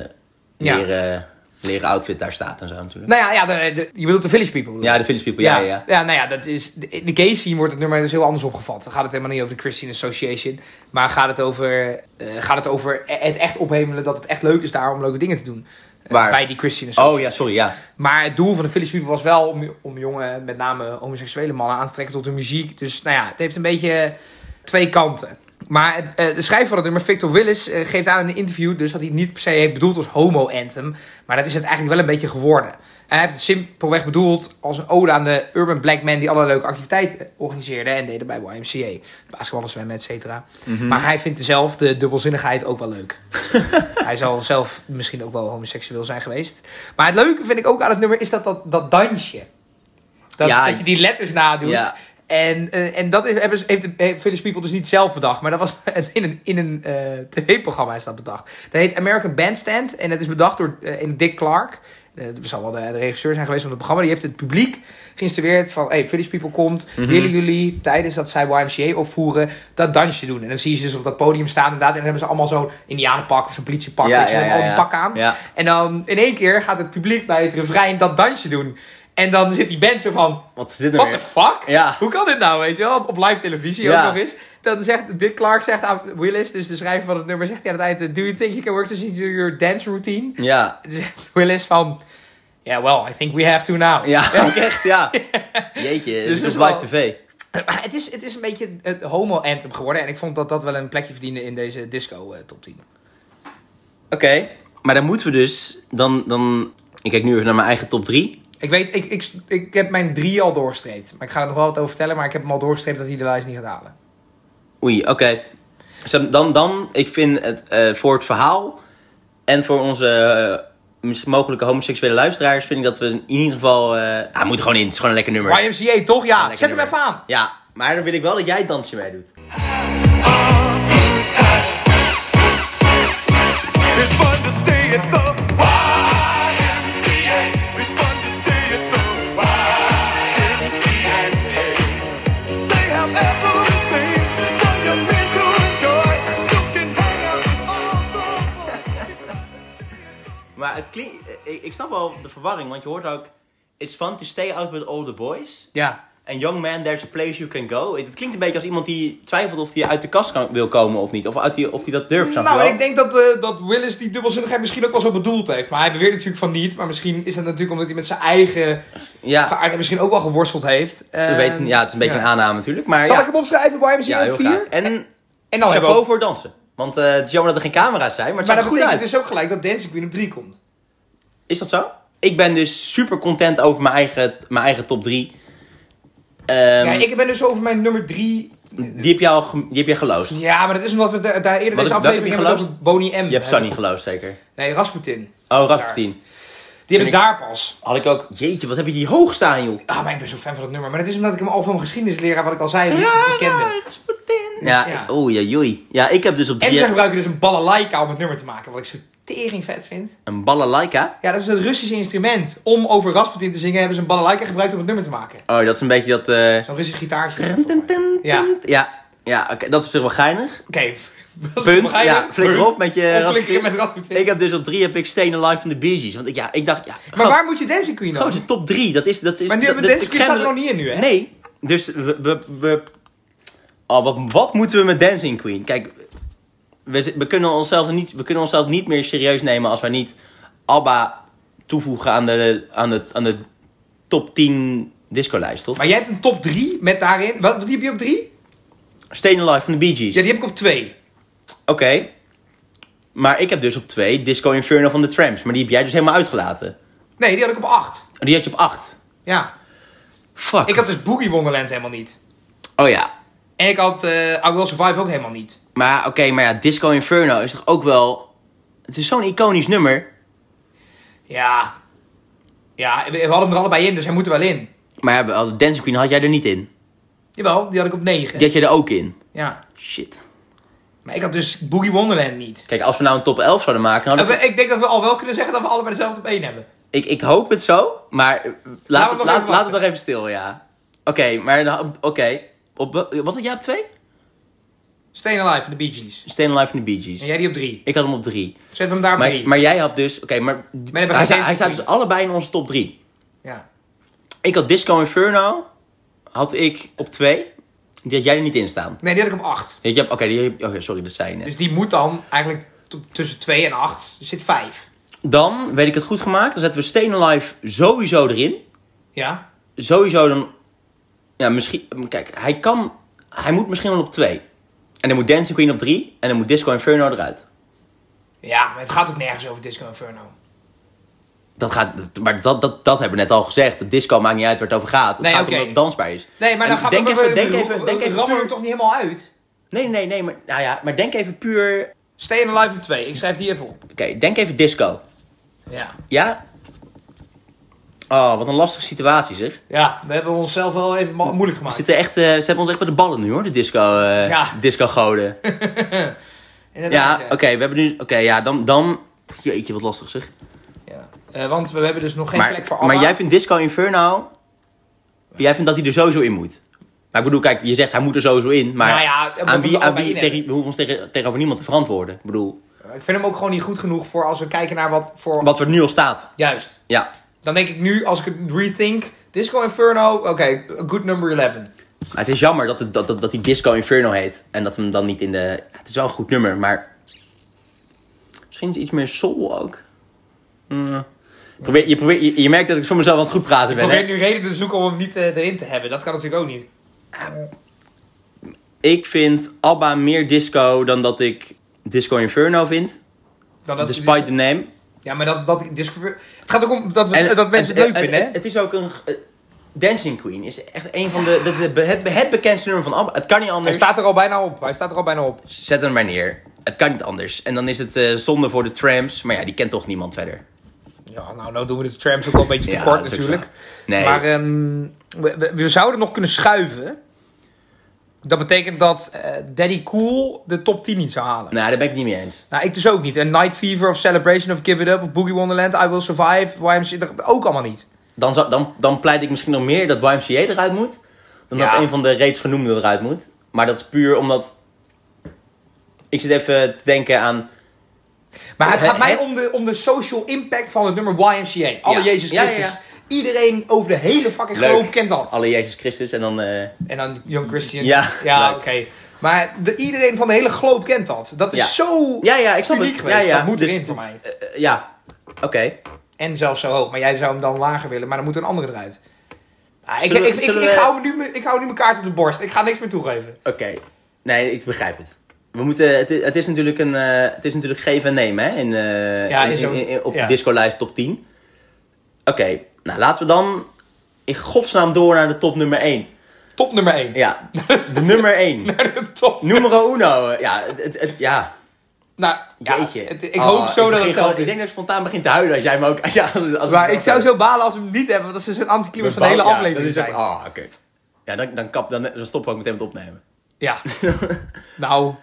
leren, leren outfit daar staat en zo natuurlijk.
Nou ja, ja de, de- je bedoelt de village people. bedoel
Ja,
je?
de Village People, ja, ja. ja.
nou ja, dat is, in de gay scene wordt het nummer dus heel anders opgevat. Dan gaat het helemaal niet over de Christian Association. Maar gaat het over, eh, gaat het over het echt ophemelen dat het echt leuk is daar om leuke dingen te doen. Eh,
Waar?
Bij die Christian Association.
Oh ja, sorry, ja.
Maar het doel van de Phillies People was wel om, om jonge, met name homoseksuele mannen aan te trekken tot de muziek. Dus nou ja, het heeft een beetje twee kanten. Maar het, eh, de schrijver van het nummer, Victor Willis, eh, geeft aan in een interview dus dat hij het niet per se heeft bedoeld als homo-anthem. Maar dat is het eigenlijk wel een beetje geworden. En hij heeft het simpelweg bedoeld als een ode aan de urban black men die alle leuke activiteiten organiseerden en deden bij YMCA. Basketballen, zwemmen, et cetera. Maar hij vindt zelf de dubbelzinnigheid ook wel leuk. <laughs> Hij zal zelf misschien ook wel homoseksueel zijn geweest. Maar het leuke vind ik ook aan het nummer is dat dat, dat dansje. Dat,
Ja.
dat je die letters nadoet.
Ja.
En, eh, en dat is, hebben ze- heeft, de- heeft Phyllis People dus niet zelf bedacht. Maar dat was <laughs> in een, in een tv-programma is dat bedacht. Dat heet American Bandstand. En dat is bedacht door eh, een eh, Dick Clark. eh, het zal wel de, de regisseur zijn geweest van het programma. Die heeft het publiek geïnstrueerd van... Hey, Village People komt.
Mhm.
Willen jullie tijdens dat zij YMCA opvoeren dat dansje doen? En dan zie je ze dus op dat podium staan inderdaad. En dan hebben ze allemaal zo'n indianenpak of zo'n politiepak.
Ja,
weet je,
ja,
wel,
ja,
al een
ja.
pak aan.
Ja.
En dan in één keer gaat het publiek bij het refrein dat dansje doen. En dan zit die band zo van...
Wat is dit nou
What the
weer?
fuck?
Ja.
Hoe kan dit nou, weet je wel? Op, op live televisie
Ja.
ook nog eens. Dan zegt Dick Clark, zegt aan Willis, dus de schrijver van het nummer, zegt hij aan het eind... eh, Do you think you can work this into your dance routine?
Ja.
En zegt Willis van... Yeah, well, I think we have to now.
Ja, ook <laughs>
<laughs>
echt, ja. Jeetje, dit
dat Dus
is
is
op live
wel-
tv.
<clears throat> Maar het is, het is een beetje het homo-anthem geworden. En ik vond dat dat wel een plekje verdiende in deze eh, disco-top 10.
Oké, maar dan moeten we dus, dan, dan, ik kijk nu even naar mijn eigen top 3.
Ik weet, ik, ik, ik heb mijn drie al doorstreept. Maar ik ga er nog wel wat over vertellen. Maar ik heb hem al doorstreept dat hij de lijst niet gaat halen.
Oei, oké. Dus dan- Dan, dan, ik vind het eh, voor het verhaal en voor onze eh, mis- mogelijke homoseksuele luisteraars vind ik dat we in ieder geval, eh hij moet er gewoon in, het is gewoon een lekker nummer.
YMCA, toch? Ja,
Lekker
zet hem
nummer.
even aan.
Ja, maar dan wil ik wel dat jij het dansje mee doet.
It's fun to stay at the YMCA. It's fun to stay at the YMCA. They have everything that you're meant to enjoy. You can hang out with all the boys.
Maar het klinkt, eh, ik, ik snap wel de verwarring, want je hoort ook, it's fun to stay out with all the boys.
Ja.
En young man, there's a place you can go. Het het klinkt een beetje als iemand die twijfelt of hij uit de kast kan, wil komen of niet. Of, uit die, of hij dat durft, snap je
Nou,
wel?
ik denk dat, eh, dat Willis die dubbelzinnigheid misschien ook wel zo bedoeld heeft. Maar hij beweert natuurlijk van niet. Maar misschien is dat natuurlijk omdat hij met zijn eigen
Ja,
geaardheid misschien ook wel geworsteld heeft.
we
Ehm,
weten, ja, het is een beetje
ja.
een aanname natuurlijk. Maar
Zal
ja,
ik hem opschrijven, YMCA
ja, heel
4?
graag.
En
En
dan hebben we
chapeau
Nou, ook-
voor dansen. Want eh, het is jammer dat er geen camera's zijn, maar
Maar
het ziet
dat
er goed
betekent
uit.
dus ook gelijk dat Dancing Queen op 3 komt.
Is dat zo? Ik ben dus super content over mijn eigen, mijn eigen top 3. Ehm,
ja, ik ben dus over mijn nummer 3.
Die heb je al ge- die heb je geloosd.
Ja, maar dat is omdat we da- daar eerder
Wat-
deze
welke heb
aflevering
je
hebben
geloosd?
over Bonnie M.
Je hebt Sunny geloosd zeker.
Nee, Rasputin.
Oh, Rasputin.
Die heb
ik-
ik daar pas.
Had ik ook... Jeetje, wat heb je hier hoog staan, joh.
Ah, maar ik ben zo fan van het nummer. Maar dat is omdat ik hem al van mijn geschiedenisleraar, wat ik al zei, niet kende.
Ja,
Ja.
ik- oei, oei, oei. Ja, ik heb dus op
En
die...
ze gebruiken dus een balalaika om het nummer te maken, wat ik zo tering vet vind.
Een balalaika.
Ja, dat is een Russisch instrument. Om over Rasputin te zingen hebben ze een balalaika gebruikt om het nummer te maken.
Oh, dat is een beetje dat... eh,
Zo'n Russisch gitaartje.
Dun, dun,
Oké,
dun,
Ja.
dun. Ja, ja oké, dat is op zich wel geinig.
<laughs> dat is
Punt.
toch geinig?
Ja, flikker
Punt.
op met je...
Of flikker
Rasputin.
met Rasputin.
Ik heb dus op drie heb ik Stenen Live van de Bee Gees. Want ik, ja, ik dacht... Ja,
Maar
gast,
waar moet je Dancing Queen dan?
gozer, Oh, top drie, dat is... Dat is
Maar nu
dat,
hebben we
dat is
Dancing Queen staat er nog
gremmelig.
niet in nu, hè?
Nee, dus we... we, we- oh, wat, wat moeten we met Dancing Queen? Kijk, we, zi- we, kunnen onszelf niet, we kunnen onszelf niet meer serieus nemen als wij niet ABBA toevoegen aan de, aan de, aan de top 10 discolijst, toch?
Maar jij hebt een top 3 met daarin. Wat, die heb je op 3?
Stenen Live van de Bee Gees.
Ja, die heb ik op 2.
Oké. Maar ik heb dus op 2 Disco Inferno van de Tramps. Maar die heb jij dus helemaal uitgelaten.
Nee, die had ik op 8.
Die had je op 8.
Ja.
Fuck.
Ik had dus Boogie Wonderland helemaal niet.
Oh ja.
En ik had eh I Will Survive ook helemaal niet.
Maar oké, maar ja, Disco Inferno is toch ook wel... Het is zo'n iconisch nummer.
Ja. Ja, we, we hadden hem er allebei in, dus hij moet er wel in.
Maar ja, wel, de Dancing Queen had jij er niet in.
Jawel, die had ik op 9.
Die had je er ook in.
Ja.
Shit.
Maar ik had dus Boogie Wonderland niet.
Kijk, als we nou een top 11 zouden maken...
En
dan hadden
we-
we-
ik denk dat we al wel kunnen zeggen dat we allebei dezelfde op 1 hebben.
ik, ik hoop het zo, maar eh, laat,
we nog
het, laat,
even
laat
wachten.
het nog even stil, ja. Oké, maar... dan- Oké. Op, wat had jij op 2?
Staying Alive van de Bee Gees.
Staying Alive van de Bee Gees.
En jij die op 3.
Ik had hem op 3.
Zet hem daar op
Maar,
3.
maar jij had dus... Oké, maar...
hebben we
hij,
geen
sta- hij
Dancing
staat
Queen.
dus allebei in onze top 3.
Ja.
Ik had Disco Inferno. Had ik op 2. Die had jij er niet in staan.
Nee, die had ik op 8.
Die had je- Oké, die heb- oké, sorry, dat zei je net.
Dus die moet dan eigenlijk t- tussen 2 en 8. Er zit 5.
Dan, weet ik het goed gemaakt, dan zetten we Stain Alive sowieso erin.
Ja.
Sowieso dan... Ja, misschien... Kijk, hij kan... Hij moet misschien wel op 2. En dan moet Dancing Queen op 3. En dan moet Disco Inferno eruit.
Ja, maar het gaat ook nergens over Disco Inferno.
Dat gaat, maar dat, dat, dat hebben we net al gezegd. De disco maakt niet uit waar het over gaat. Het
Nee,
gaat
oké.
om dat het dansbaar is.
Nee, maar
En
dan gaat
denk
we,
even,
we-
denk
we-
even,
we-
denk
we
even
rammen
puur-
hem toch niet helemaal uit?
Nee, nee, nee, maar, nou ja, maar denk even puur...
Stay Alive op 2. Ik schrijf die even op.
Oké, denk even disco.
Ja.
Ja? Oh, wat een lastige situatie zeg.
Ja, we hebben onszelf wel even mo- moeilijk
We
gemaakt.
zitten echt, eh, ze hebben ons echt bij de ballen nu hoor, de disco, eh
Ja. <laughs>
disco-goden.
Inderdaad,
Ja, oké, we hebben nu... Oké, ja, dan, dan... Jeetje, wat lastig zeg.
Ja. Eh, want we hebben dus nog geen plek voor
Maar,
Abba.
maar jij vindt Disco Inferno... Jij vindt dat hij er sowieso in moet. Maar ik bedoel, kijk, je zegt hij moet er sowieso in. Maar
Nou ja, we
aan
moeten
wie,
er
aan
allebei
wie,
in
tegen,
hebben.
we hoeven ons tegen, tegenover niemand te verantwoorden. Ik bedoel,
Ik vind hem ook gewoon niet goed genoeg voor als we kijken naar wat voor...
wat er nu al staat.
Juist.
Ja,
Dan denk ik nu, als ik het rethink... Disco Inferno, oké, good number 11.
Maar het is jammer dat, het, dat, dat, dat die Disco Inferno heet. En dat hem dan niet in de... Het is wel een goed nummer, maar... Misschien is het iets meer soul ook. Hmm. Probeer, je, probeer, je, je merkt dat ik voor mezelf aan het goed praten
Ik
ben,
probeer
hè?
nu reden te zoeken om hem niet eh, erin te hebben. Dat kan natuurlijk ook niet.
Ik vind ABBA meer disco dan dat ik Disco Inferno vind.
Dan dat, dus-
Despite the name.
Ja, maar dat, dat Disco... Het gaat ook om dat, we, dat mensen het leuk
en-
vinden,
het,
hè?
het is ook een... eh, Dancing Queen is echt een van de... Dat is het, be- het, het bekendste nummer van ABBA. Het kan niet
Hij
anders.
staat er al bijna op. Hij staat er al bijna op.
Zet hem maar neer. Het kan niet anders. En dan is het eh, zonde voor de trams. Maar ja, die kent toch niemand verder.
Ja, nou, nou doen we de trams ook wel een beetje te
Ja,
kort
dat is ook
natuurlijk.
zo. Nee.
Maar ehm, we, we- we zouden nog kunnen schuiven. Dat betekent dat eh, Daddy Cool de top 10 niet zou halen.
Nou, daar ben ik niet mee eens.
Nou, ik dus ook niet. En Night Fever of Celebration of Give It Up of Boogie Wonderland, I Will Survive, YMC, dat- ook allemaal niet.
Dan, zou, dan, dan pleit ik misschien nog meer dat YMCA eruit moet. Dan
Ja.
dat een van de reeds genoemden eruit moet. Maar dat is puur omdat... Ik zit even te denken aan...
Maar het
Het-
gaat mij
het-
om de, om de social impact van het nummer YMCA. Alle
Ja.
Jezus
Ja, ja,
Christus. Iedereen over de hele fucking globe kent dat.
Alle Jezus Christus en dan... eh,
En dan Young Christian.
Ja,
ja
leuk.
oké. Maar de, iedereen van de hele globe kent dat. Dat is
Ja.
zo
Ja, ja, ik snap
uniek
het.
geweest.
Ja, ja.
Dat moet
Dus-
erin voor mij.
eh, ja, oké.
En zelfs zo hoog. Maar jij zou hem dan lager willen, maar dan moet een andere eruit. Ah, ik,
Zullen we-
ik, ik,
zullen
ik,
we-
hou nu, mijn- ik hou nu mijn kaart op de borst. Ik ga niks meer toegeven.
Oké. Nee, ik begrijp het. We moeten, het, is, het is natuurlijk een, eh, het is natuurlijk geven en nemen hè? In, eh,
Ja,
in-
is ook-
in- in- op
ja.
de discolijst top 10. Oké, nou laten we dan in godsnaam door naar de top nummer 1.
Top nummer 1.
Ja, de nummer 1.
<laughs> Top.
Numero uno. Ja, het, het, het- ja.
Nou, ja,
jeetje.
het- ik
Oh,
hoop zo dat
begin
het
gewoon-
zelf
Ik
is.
denk dat ik spontaan begin te huilen als jij me ook... Als jij, als als
Maar ik zou zo balen als we hem niet hebben, want dat is een anticlimax van de
Bang,
hele
ja,
aflevering.
dan is het
zijn.
echt, Ah, kut. Ja, dan, dan, kap, dan, dan stoppen we ook meteen met opnemen.
Ja.
oh.
nou,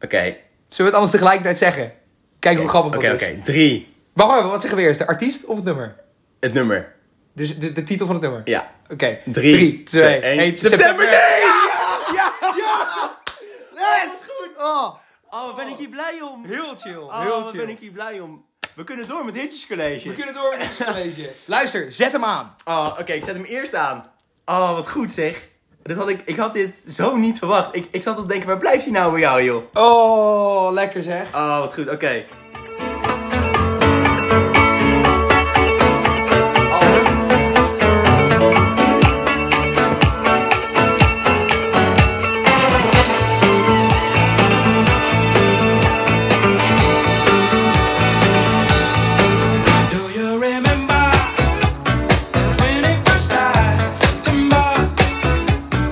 Oké.
zullen we het anders tegelijkertijd zeggen? Kijk hoe grappig dat dus.
Oké,
is.
oké. Drie.
Wacht even, wat zeggen we eerst? De artiest of het nummer?
Het nummer.
Dus de, de titel van het nummer?
Ja.
Oké.
Drie,
Drie, twee,
twee,
één.
één. September, nee!
Ja! Ja! ja! Dat is goed! Oh,
Oh, wat ben ik hier blij om.
heel chill,
Oh,
heel
wat
chill.
ben ik hier blij om. We kunnen door met Hitjescollege.
We kunnen door met
<laughs>
dit college. Luister, zet hem aan.
Oh, oké, ik zet hem eerst aan. Oh, wat goed zeg. Dit had ik, ik had dit zo niet verwacht. Ik, ik zat al te denken, waar blijft hij nou bij jou, joh?
Oh, lekker zeg.
Oh, wat goed, oké.
Do you remember when it first died? September,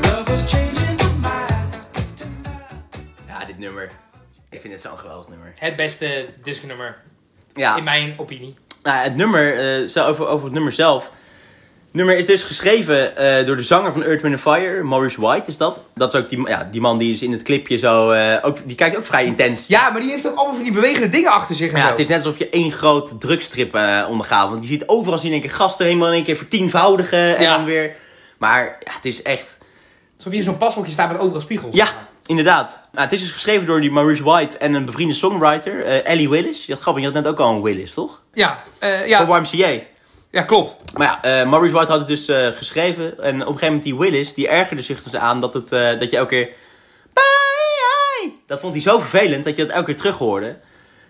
love was changing the mind.
Ja, dit nummer. Ik vind het zo'n geweldig nummer.
Het beste discnummer,
Ja,
in mijn opinie.
nou, het nummer, eh, zo- over, over het nummer zelf. Het nummer is dus geschreven eh, door de zanger van Earth, Wind and Fire, Maurice White is dat. Dat is ook die, ja, die man die is in het clipje zo, eh, ook, die kijkt ook vrij intens.
Ja, maar die heeft ook allemaal van die bewegende dingen achter zich. en
Ja,
zo.
het is net alsof je één groot drugstrip eh ondergaat. Want je ziet overal zien in één keer gasten helemaal in één keer vertienvoudigen. En
Ja.
dan weer... Maar ja, het is echt...
Alsof je in zo'n pashokje staat met overal spiegels.
Ja, inderdaad. Nou, het is dus geschreven door die Maurice White en een bevriende songwriter, eh, Ellie Willis. Ja, grappig, je had net ook al een Willis, toch?
Ja, eh, ja,
Voor YMCA.
ja, klopt.
Maar ja, eh, Maurice White had het dus eh, geschreven. En op een gegeven moment die Willis, die ergerde zich dus aan dat, het, eh, dat je elke keer... Bye, bye. Dat vond hij zo vervelend dat je dat elke keer terug hoorde.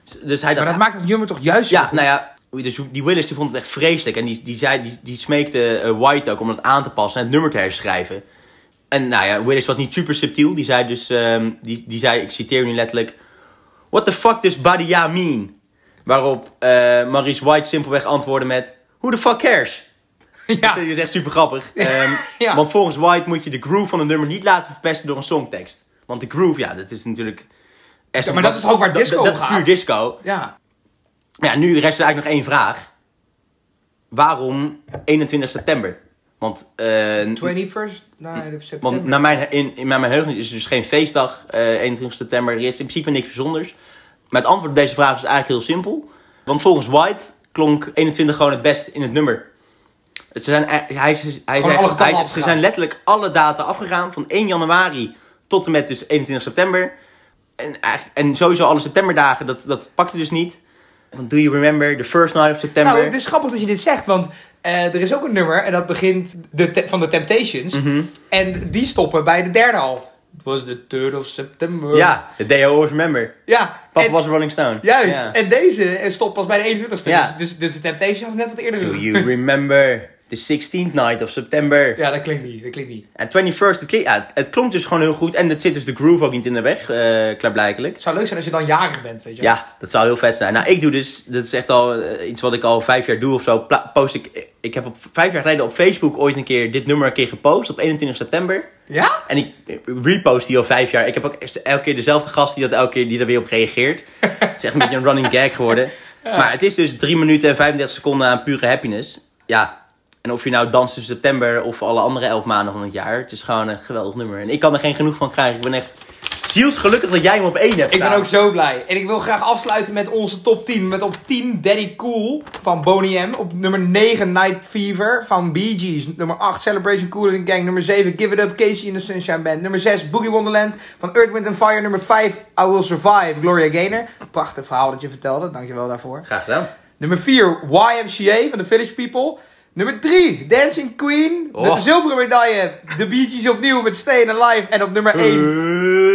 Dus- Dus hij dacht,
Maar dat maakt het nummer toch juist zo
Ja,
goed?
nou ja. Dus die Willis die vond het echt vreselijk. En die, die, zei, die, die smeekte eh, White ook om dat aan te passen en het nummer te herschrijven. En nou ja, Willis was niet super subtiel. Die zei dus, ehm, die, die zei, ik citeer nu letterlijk... What the fuck does Badia mean? Waarop eh Maurice White simpelweg antwoordde met... Who the fuck
<laughs>
cares?
ja.
Dat is echt super grappig. Ehm,
<laughs> Ja.
Want volgens White moet je de groove van een nummer niet laten verpesten door een songtekst. Want de groove, ja, dat is natuurlijk... Ja,
maar dat is toch ook waar disco om
dat, dat is
gaat?
puur disco.
Ja.
Ja, nu rest er eigenlijk nog één vraag. Waarom 21 september? Want, eh,
21st night of nou, September.
want naar mijn, in, in mijn heugenis is het dus geen feestdag, eh 21 september. Er is in principe niks bijzonders. Maar het antwoord op deze vraag is eigenlijk heel simpel. Want volgens White klonk 21 gewoon het best in het nummer. Ze zijn, hij, hij, hij,
alle
hij-
getallen
hij- ze
afgegaan.
zijn letterlijk alle data afgegaan. Van 1 januari tot en met dus 21 september. En, eigenlijk- en sowieso alle septemberdagen, dat, dat pak je dus niet. Want do you remember the first night of September?
Nou, het is grappig dat je dit zegt, want eh, er is ook een nummer en dat begint de te- van de Temptations.
Mhm.
En die stoppen bij de derde al. It was the 3rd of September.
Ja, the day I always remember.
ja.
Papa
en-
was a Rolling Stone.
Juist,
Ja.
en deze eh, stopt pas bij de 21ste.
Ja.
Dus, dus, dus de Temptations had net wat eerder.
Do you remember the 16th night of September?
Ja, dat klinkt niet, dat klinkt niet.
En 21st, het, kli- ja, het, het klonk dus gewoon heel goed. En het zit dus de groove ook niet in de weg, eh klaarblijkelijk.
Het zou leuk zijn als je dan jarig bent, weet je wel.
Ja, dat zou heel vet zijn. Nou, ik doe dus, dat is echt al eh, iets wat ik al vijf jaar doe of zo. Pla- Post ik, ik heb op, vijf jaar geleden op Facebook ooit een keer dit nummer een keer gepost op 21 september.
Ja?
En ik repost die al vijf jaar. Ik heb ook echt elke keer dezelfde gast die, dat elke keer, die daar weer op reageert. Het is echt een beetje een running gag <laughs> geworden. Maar het is dus 3 minuten en 35 seconden aan pure happiness. Ja. En of je nou danst in september of alle andere elf maanden van het jaar. Het is gewoon een geweldig nummer. En ik kan er geen genoeg van krijgen. Ik ben echt zielsgelukkig dat jij hem op één hebt
Ik ben
staan.
ook zo blij. En ik wil graag afsluiten met onze top 10. Met op 10 Daddy Cool van Boney M. Op nummer 9 Night Fever van Bee Gees. Nummer 8 Celebration Cool in the Gang. Nummer 7 Give It Up Casey in the Sunshine Band. Nummer 6 Boogie Wonderland van Earth, Wind and Fire. Nummer 5 I Will Survive Gloria Gaynor. Prachtig verhaal dat je vertelde. Dankjewel daarvoor.
Graag gedaan.
Nummer 4, YMCA van de Village People. Nummer 3, Dancing Queen. Met
Oh.
de zilveren medaille. De Bee Gees opnieuw met Stayin' Alive. En op nummer 1,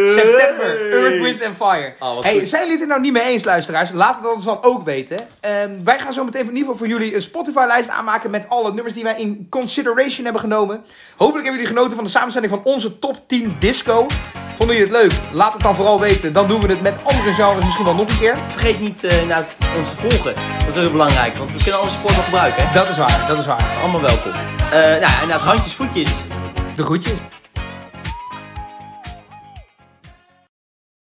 September, Earth, Wind and Fire.
Ah, wat
hey,
goed.
zijn jullie het er nou niet mee eens, luisteraars? Laat het ons dan ook weten. Ehm, wij gaan zo meteen in ieder geval voor jullie een Spotify-lijst aanmaken... met alle nummers die wij in consideration hebben genomen. Hopelijk hebben jullie genoten van de samenstelling van onze top 10 disco. Vonden jullie het leuk? Laat het dan vooral weten. Dan doen we het met andere genres misschien wel nog een keer.
Vergeet niet eh, inderdaad ons te volgen. Dat is ook heel belangrijk, want we kunnen alle support nog gebruiken. Hè?
Dat is waar, dat is waar.
Allemaal welkom. Eh nou, ja, inderdaad, handjes, voetjes.
De groetjes.